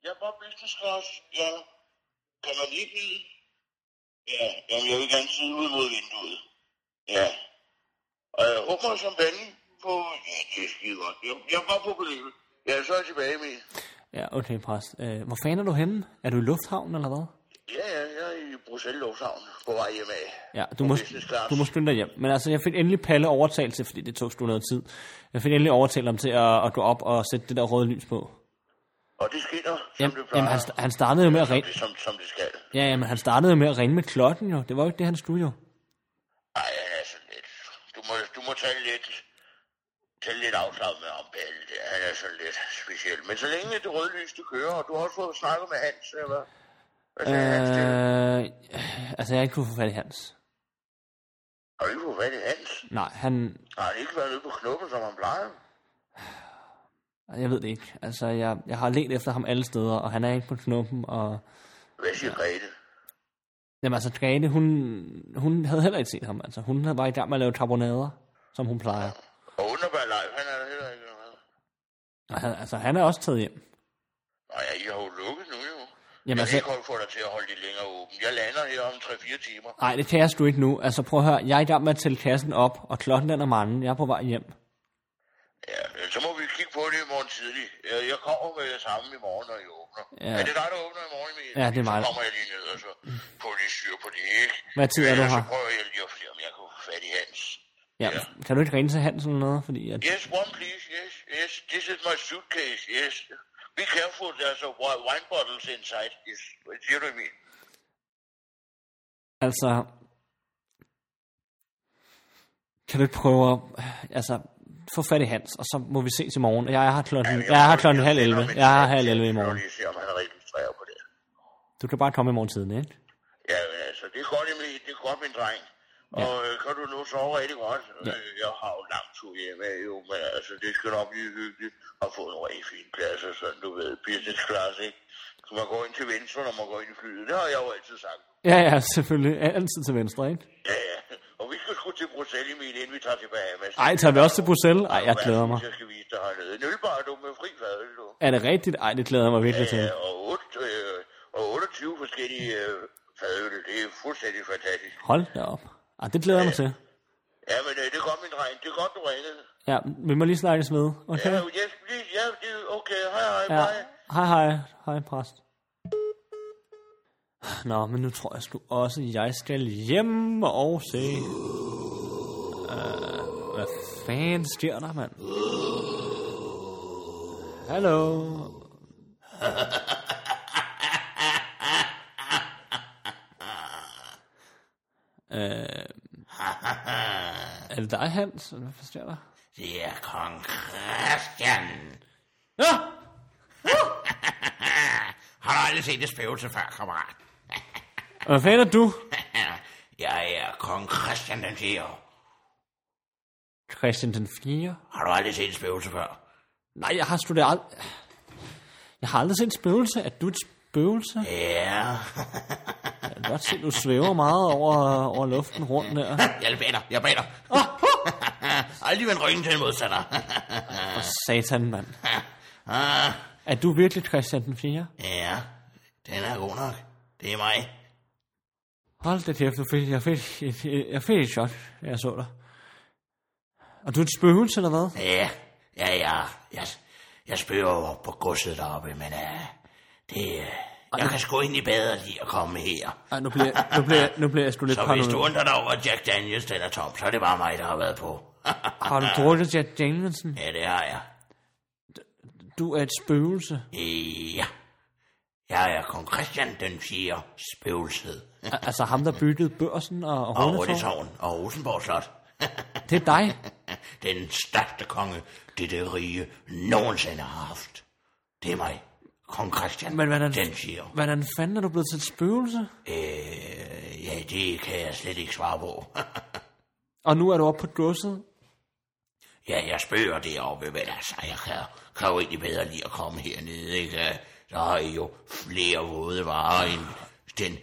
S5: Jeg var business class. Ja. Kan man lige blive? Ja, jamen jeg vil gerne sidde ud mod vinduet. Ja. Og jeg håber som vanden på... Ja, det er skide godt. Jeg, jeg var på beløbet. Ja, så er jeg tilbage, Emil.
S3: ja, okay, præst. Øh, hvor fanden er du henne? Er du i lufthavnen, eller hvad?
S5: Ja, ja, jeg er i Bruxelles Lufthavn på vej hjemme af.
S3: Ja, du
S5: På
S3: må,
S5: business class.
S3: du må skynde dig hjem. Men altså, jeg fik endelig Palle overtalt til, fordi det tog sgu noget tid. Jeg fik endelig overtalt ham til at, at gå op og sætte det der røde lys på.
S5: Og det skinner, som
S3: Jamen, altså,
S5: det plejer.
S3: jamen han, sta- han startede jo med at
S5: som,
S3: ringe.
S5: det, som, som det skal.
S3: Ja, jamen, han startede jo med at ringe med klokken jo. Det var jo ikke det, han skulle jo.
S5: Ej, han er sådan lidt... Du må, du må tage lidt... Tage lidt afslappet med ham, Palle. Det- Han er sådan lidt speciel. Men så længe det røde lys, det kører, og du har også fået snakket med Hans, eller hvad? Hvad sagde Hans til det?
S3: Øh, altså, jeg har ikke kunne få fat i Hans.
S5: Har du ikke fået fat i Hans?
S3: Nej, han...
S5: Har han ikke været nede på knoppen, som han plejer?
S3: Jeg ved det ikke. Altså, jeg, jeg har let efter ham alle steder, og han er ikke på knuppen, og...
S5: Hvad siger Grete?
S3: Jamen, altså, Grete, hun, hun havde heller ikke set ham. Altså, hun havde bare i gang med at lave carbonader, som hun plejer.
S5: Og underbær Leif, han er der heller ikke noget.
S3: Og han, altså, han er også taget hjem.
S5: Nej, ja, I har jo lukket nu jo.
S3: Jamen,
S5: jeg
S3: altså-
S5: kan ikke holde for dig til at holde det længere åbent. Jeg lander her om 3-4 timer.
S3: Nej, det kan jeg sgu ikke nu. Altså, prøv at høre, jeg er i gang med at tælle kassen op, og klokken den er mange. Jeg er på vej hjem.
S5: Ja, men så må vi kigge på det i morgen tidlig. Jeg jeg kommer med det samme i morgen, når I åbner.
S3: Ja.
S5: Ja. Er det dig, der åbner i morgen, Emil?
S3: Ja, det er mig,
S5: Så
S3: der-
S5: kommer jeg lige ned og så får lidt styr på det, ikke?
S3: Hvad tid er du
S5: Ja,
S3: her?
S5: Så prøver jeg lige at se, om jeg kan få fat i hans.
S3: Ja,
S5: Ja.
S3: kan du ikke ringe til Hans eller noget? Fordi at,
S5: Yes, one please, yes, yes. This is my suitcase, yes. Be careful, there's a wi- wine bottles inside. Yes, Hvad siger du, Emil?
S3: altså... Kan du ikke prøve at... Altså, få fat i Hans, og så må vi ses i morgen. Jeg er her klokken, jeg er her klokken halv 11. Jeg er her halv 11 i
S5: Jeg må
S3: morgen.
S5: lige se, om han registrerer på det.
S3: Du kan bare komme i morgen tiden, ikke?
S5: Ja, men altså, det er godt, Emil. Det er godt, min dreng. Og øh, kan du nu sove rigtig godt? Ja. Jeg har jo lang tur hjemme, jo, men altså, det skal nok blive hyggeligt at få en rigtig fin plads, og sådan, du ved, business class, ikke? Så man går ind til venstre, når man går ind i flyet. Det har jeg jo altid sagt.
S3: Ja, ja, selvfølgelig. Altid til venstre, ikke?
S5: Ja, ja. Og vi skal sgu til Bruxelles, Emil, inden vi tager til Bahamas.
S3: Ej, tager vi også til Bruxelles? Ej, jeg glæder mig.
S5: Jeg skal vise dig hernede. Nu er bare du med fri fadøl, du.
S3: Er det rigtigt? Ej, det glæder jeg mig virkelig til.
S5: Ja, og, 8, øh, og 28 forskellige øh, fadøl, det er fuldstændig fantastisk.
S3: Hold da op. Ej, det glæder jeg mig til.
S5: Ja, men øh, det er godt, min dreng. Det er godt, du ringede.
S3: Ja, vi må lige snakkes ved.
S5: Ja,
S3: Okay?
S5: yes, please. Ja, det er okay. Hej, hej,
S3: Ja.
S5: hej.
S3: Hej, hej. Hej, præst. Nå, men nu tror jeg sgu også, at jeg skal hjem og se... Uh, hvad fanden sker der, mand? Hallo? Øh, er det dig, Hans? Hvad fanden sker der?
S1: Det er kong Christian.
S3: Ja!
S1: Har du aldrig set det spøgelse før, kammerat?
S3: Hvad fanden er du?
S1: Jeg er kong Christian den 4.
S3: Christian den 4.
S1: Har du aldrig set et spøgelse før?
S3: Nej, jeg har studeret ald... Jeg har aldrig set et spøgelse. Er du et spøgelse? Jeg
S1: Ja,
S3: kan godt se, du svæver meget over, over luften rundt der.
S1: jeg beder, jeg beder. aldrig vend ryggen til en modstander.
S3: Og satan, mand.
S1: Ah,
S3: Er du virkelig Christian den 4?
S1: ja, den er god nok. Det er mig.
S3: Hold da kæft, du fik, jeg, fik, et- jeg fik et chok, da jeg så dig. Og du er et spøgelse, eller hvad?
S1: Ja, ja, ja. Jeg, jeg spørger jo op på godset deroppe, men uh, det, uh, jeg kan sgu egentlig bedre lige at komme her.
S3: Ej, nu bliver, nu bliver, nu bliver jeg sgu lidt
S1: Så hvis du
S3: paranoid.
S1: undrer dig over, at Jack Daniels den er tom, så er det bare mig, der har været på.
S3: Har du drukket Jack Danielsen?
S1: ja, det har jeg.
S3: Du er et spøgelse.
S1: Ja. Jeg er kong Christian den 4. spøgelset.
S3: Al- Altså ham, der byggede børsen og, og
S1: Og
S3: Rundetårn.
S1: Rundetårn og Rosenborg Slot.
S3: Det er dig.
S1: Den største konge, det det rige nogensinde har haft. Det er mig, kong Christian
S3: Men hvordan-
S1: den 4.
S3: Hvordan fanden er du blevet til et spøgelse?
S1: Øh, ja, det kan jeg slet ikke svare på.
S3: Og nu er du oppe på godset.
S1: ja, jeg spørger deroppe, men altså, jeg kan, kan jo egentlig bedre lige at komme hernede, ikke? Der har I jo flere våde varer end den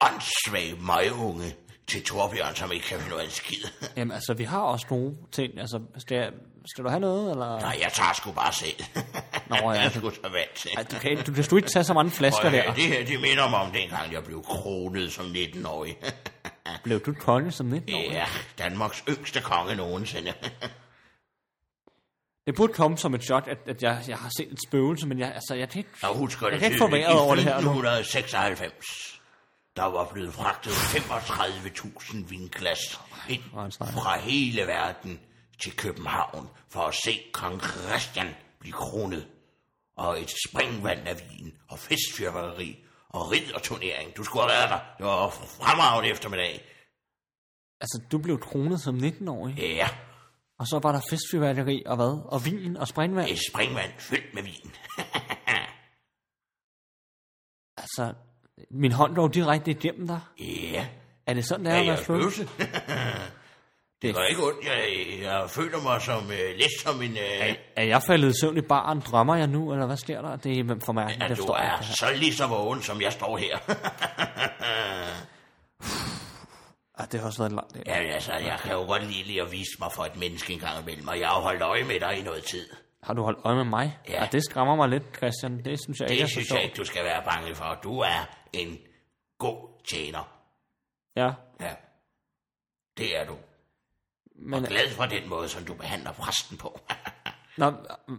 S1: åndssvage møgunge til Torbjørn, som ikke kan finde ud af en skid.
S3: Jamen altså, vi har også nogle ting. Altså, skal, jeg, skal du have noget, eller?
S1: Nej, jeg tager sgu bare selv.
S3: Nå, ja.
S1: Jeg er sgu så vant til.
S3: Ej, du, kan, ikke- du kan sgu ikke tage så mange flasker
S1: Prøv at høre,
S3: der.
S1: øh, Det her, det minder mig om dengang, jeg blev kronet som 19-årig.
S3: Blev du konge som 19 år?
S1: ja, Danmarks yngste konge nogensinde.
S3: Det burde komme som et chok, at, at jeg, jeg har set et spøgelse, men jeg, altså, jeg kan ikke...
S1: Jeg husker
S3: Jeg
S1: det
S3: kan ikke få
S1: tydeligt.
S3: vejret
S1: I
S3: over det her nu.
S1: 1996, der var blevet fragtet 35.000 vinglas ind
S3: hvor er det sejt.
S1: fra hele verden til København for at se kong Christian blive kronet. og et springvand af vin, og festfyrværkeri, og ridderturnering. Du skulle have været der. Det var fremragende eftermiddag.
S3: Altså, du blev kronet som 19-årig,
S1: Ja,
S3: og så var der festfyrværkeri og hvad? Og vin og springvand.
S1: et springvand fyldt med vin.
S3: Altså, min hånd lå direkte igennem dig.
S1: Ja,
S3: Er det sådan, det er
S1: er
S3: at
S1: jeg
S3: være spøg?
S1: spøgelse? det gør ikke ondt. Jeg, jeg føler mig som, uh, lidt som en... Uh,
S3: Er jeg faldet i søvn i baren? Drømmer jeg nu, eller hvad sker der? Det er for mig,
S1: at
S3: det
S1: du
S3: forstår jeg
S1: er
S3: ikke.
S1: så lige så vågen, som jeg står her.
S3: Ah, det har også været en lang dag.
S1: Jamen altså, jeg kan jo godt lide lige at vise mig for et menneske en gang imellem, og jeg har jo holdt øje med dig i noget tid.
S3: Har du holdt øje med mig?
S1: Ja.
S3: Ah, det skræmmer mig lidt, Christian. Det synes jeg ikke,
S1: Det
S3: jeg
S1: synes
S3: forstår.
S1: jeg ikke, du skal være bange for. Du er en god tjener.
S3: Ja,
S1: Ja, det er du.
S3: men...
S1: Glad for den måde, som du behandler præsten på.
S3: Nå, mm,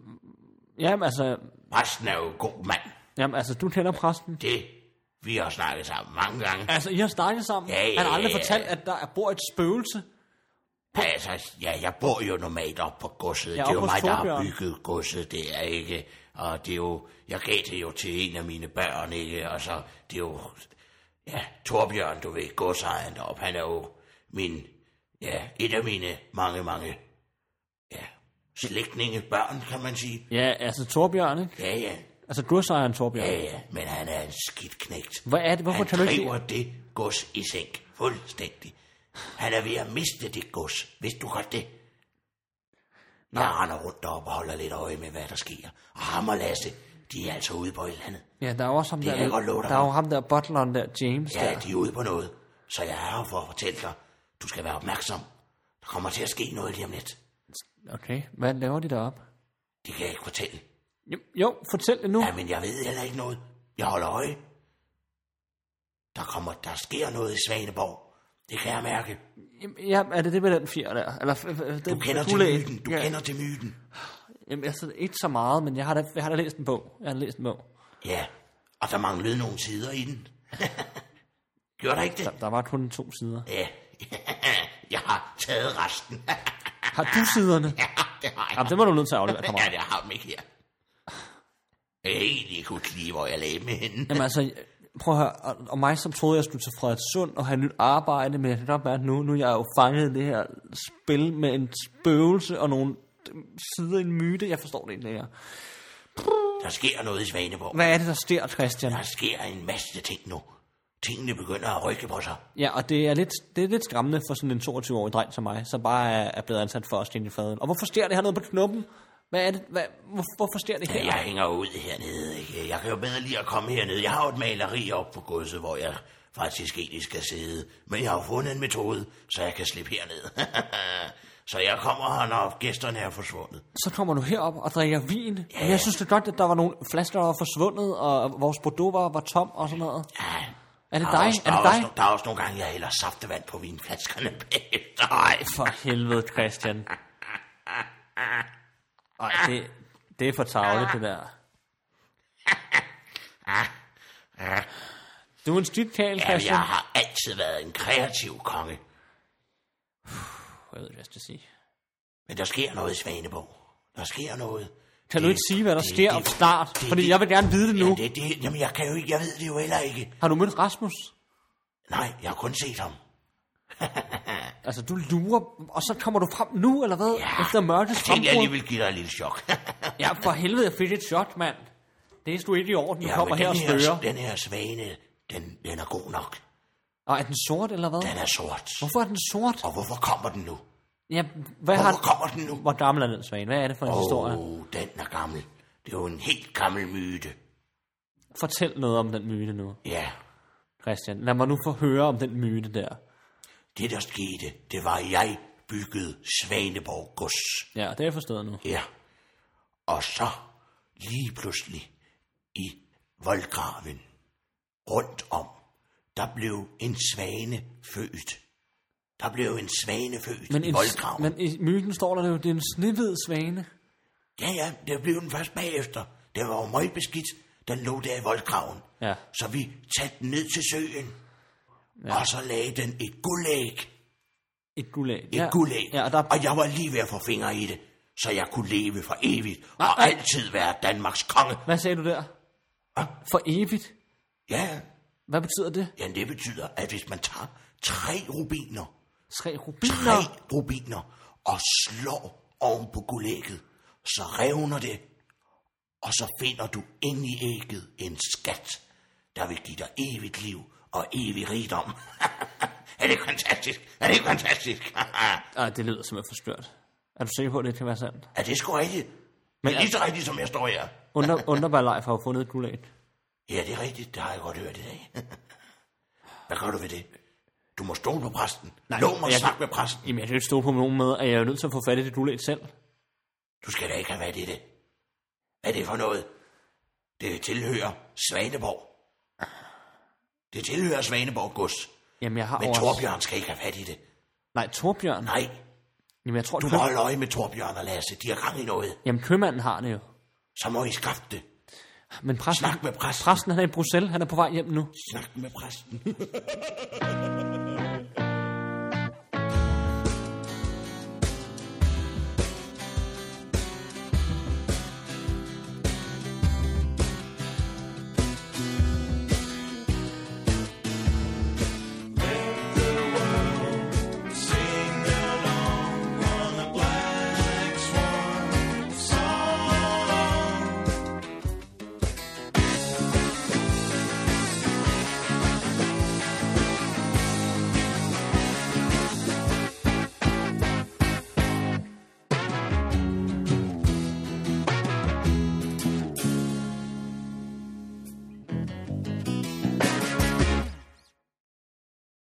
S3: jamen, altså,
S1: præsten er jo en god mand.
S3: jamen, altså, du kender præsten.
S1: Det, vi har snakket sammen mange gange.
S3: Altså, I har snakket sammen.
S1: Ja, ja,
S3: Han har aldrig
S1: ja, ja.
S3: fortalt, at der bor et spøgelse.
S1: Altså, ja, jeg bor jo normalt op på godset. det er
S3: oppe
S1: jo
S3: hos
S1: mig, der har
S3: Torbjørn.
S1: bygget godset, det er ikke... Og det er jo... Jeg gav det jo til en af mine børn, ikke? Og så, det er jo... Ja, Torbjørn, du ved, godsejeren deroppe, han er jo min... Ja, et af mine mange, mange... Ja, slægtninge børn, kan man sige.
S3: Ja, altså Torbjørn, ikke?
S1: Ja, ja,
S3: Altså godsejeren Torbjørn.
S1: ja, ja, men han er en skidt knægt.
S3: Hvad er det? Hvorfor
S1: han
S3: kan du ikke...
S1: driver det gods i sænk, fuldstændig. Han er ved at miste det gods, hvis du godt det. Jeg render rundt deroppe og holder lidt øje med, hvad der sker. Og ham og Lasse, de er altså ude på et eller andet.
S3: Ja, der er også ham
S1: Det
S3: der...
S1: kan jeg godt love dig
S3: der er
S1: for.
S3: jo ham der butleren der, James
S1: Ja,
S3: der.
S1: de er ude på noget. Så jeg er her for at fortælle dig, du skal være opmærksom. Der kommer til at ske noget lige om lidt.
S3: Okay, hvad laver de deroppe?
S1: Det kan jeg ikke fortælle.
S3: Jo, jo, fortæl det nu.
S1: Ja, men jeg ved heller ikke noget. Jeg holder øje. Der kommer, der sker noget i Svaneborg. Det kan jeg mærke.
S3: Jamen, Ja, er det det med den fjer der? Eller, f- f- den
S1: Du kender til
S3: fugleæg?
S1: myten. Du kender til myten.
S3: Jamen, altså, ikke så meget, men jeg har da, jeg har da læst en bog. Jeg har da læst en bog.
S1: Ja, og der manglede nogle sider i den. Gjorde der ikke det?
S3: Der, der var kun to sider.
S1: Ja, jeg har taget resten.
S3: Har du siderne?
S1: det har jeg.
S3: Jamen, det var du nødt til at aflevere,
S1: Ja,
S3: kammerat.
S1: jeg har dem ikke her. Jeg kan egentlig ikke huske lige, hvor jeg lagde dem henne.
S3: Jamen altså, prøv at høre, og- og mig som troede, jeg skulle til Frederikssund og have nyt arbejde, men jeg kan godt mærke nu, nu er jeg jo fanget i det her spil med en spøgelse og nogle sider i en myte. Jeg forstår det ikke længere.
S1: Der sker noget i Svaneborg.
S3: Hvad er det, der sker, Christian?
S1: Der sker en masse ting nu. Tingene begynder at rykke på sig.
S3: Ja, og det er lidt, det er lidt skræmmende for sådan en 22-årig dreng som mig, som bare er, er blevet ansat for at stjæle i faden. Og hvorfor sker det hernede på knuppen? Hvad er det? Hvad, hvor, hvorfor sker det
S1: Ja,
S3: her?
S1: jeg hænger ud hernede. Ikke? Jeg kan jo bedre lide at komme hernede. Jeg har jo et maleri op på godset, hvor jeg faktisk egentlig skal sidde. Men jeg har jo fundet en metode, så jeg kan slippe herned. så jeg kommer her, når gæsterne er forsvundet.
S3: Så kommer du herop og drikker vin. Ja. Jeg synes det er godt, at der var nogle flasker, der var forsvundet, og vores Bordeaux var, var tom og sådan noget.
S1: Ja.
S3: Er det
S1: Der
S3: dig?
S1: Også,
S3: Er
S1: der
S3: det dig?
S1: Også, der er også nogle gange, jeg hælder saftevand på vinflaskerne bagefter. Ej,
S3: For helvede, Christian. Ej, det, det er for tavligt, det der. Du er en styrtkagel,
S1: ja, jeg
S3: Christian.
S1: har altid været en kreativ konge.
S3: Jeg ved, hvad jeg skal sige.
S1: Men der sker noget i Svaneborg. Der sker noget.
S3: Kan du ikke sige, hvad der sker om snart? Fordi jeg vil gerne vide det nu.
S1: Ja, det, det, jamen, jeg, kan jo ikke, jeg ved det jo heller ikke.
S3: Har du mødt Rasmus?
S1: Nej, jeg har kun set ham.
S3: Altså, du lurer, og så kommer du frem nu, eller hvad?
S1: Ja.
S3: Efter mørkets
S1: Jeg tænkte, jeg lige
S3: frembrud.
S1: ville give dig et lille chok.
S3: Ja, for helvede, jeg fik et shot, mand. Det er sgu ikke i orden, du kommer
S1: men
S3: her og
S1: den
S3: stører.
S1: Den her svane, den, den er god nok.
S3: Og er den sort, eller hvad?
S1: Den er sort.
S3: Hvorfor er den sort?
S1: altså- Og hvorfor kommer den nu?
S3: Ja, hvad har...
S1: Hvorfor kommer den nu?
S3: Hvor gammel er den, Svane? Hvad er det for en
S1: Åh,
S3: historie?
S1: oh, den er gammel. Det er jo en helt gammel myte.
S3: Fortæl noget om den myte nu,
S1: Ja,
S3: Christian. Lad mig nu få høre om den myte der.
S1: det der skete, det var, at jeg byggede Svaneborg gods.
S3: Ja, det har jeg forstået nu.
S1: Ja. Og så lige pludselig i voldgraven rundt om, der blev en svane født. Der blev en svane født
S3: Men,
S1: i
S3: en,
S1: voldgraven.
S3: men i myten står der jo, det er en snehvid svane.
S1: Ja, ja, det blev den først bagefter. Det var jo meget beskidt. Den lå der i voldgraven.
S3: Ja.
S1: Så vi talte den ned til søen. Ja. Og så lagde den et guldæg.
S3: Et gulag.
S1: Et ja. guldæg.
S3: Ja, og der,
S1: og jeg var lige ved at få fingre i det. så jeg kunne leve for evigt og altid være Danmarks konge.
S3: Hvad sagde du der? For evigt?
S1: Ja,
S3: Hvad betyder det?
S1: ja, det betyder, at hvis man tager tre rubiner,
S3: Tre rubiner?
S1: tre rubiner og slår oven på guldægget, så revner det, og så finder du inde i ægget en skat, der vil give dig evigt liv og evig rigdom. er det ikke fantastisk? Er det ikke fantastisk?
S3: Ej, det lyder simpelthen forstørt. Er du sikker på, at det kan være sandt?
S1: er det sgu rigtigt?
S3: Men
S1: Det er lige så rigtigt, som jeg står her.
S3: Under, underbar Leif har jo fundet et gulag.
S1: Ja, det er rigtigt. Det har jeg godt hørt i dag. Hvad gør du ved det? Du må stole på præsten. Nej, Lov mig
S3: jeg-
S1: jeg... snak med præsten.
S3: Jamen, jeg kan jo ikke stå på nogen måde, at jeg er jo nødt til at få fat i det gulag selv.
S1: Du skal da ikke have været i det. Hvad er det for noget? Det tilhører Svaneborg. Det tilhører Svaneborg gods.
S3: Jamen, jeg har
S1: Men
S3: også...
S1: Torbjørn skal ikke have fat i det.
S3: Nej, Torbjørn.
S1: Nej,
S3: Jamen, jeg tror,
S1: du må holde øje med Torbjørn og Lasse. De har gang i noget.
S3: Jamen, købmanden har det jo.
S1: Så må I skaffe det.
S3: Men præsten,
S1: Snak med præsten.
S3: præsten han er i Bruxelles. Han er på vej hjem nu.
S1: Snak med præsten.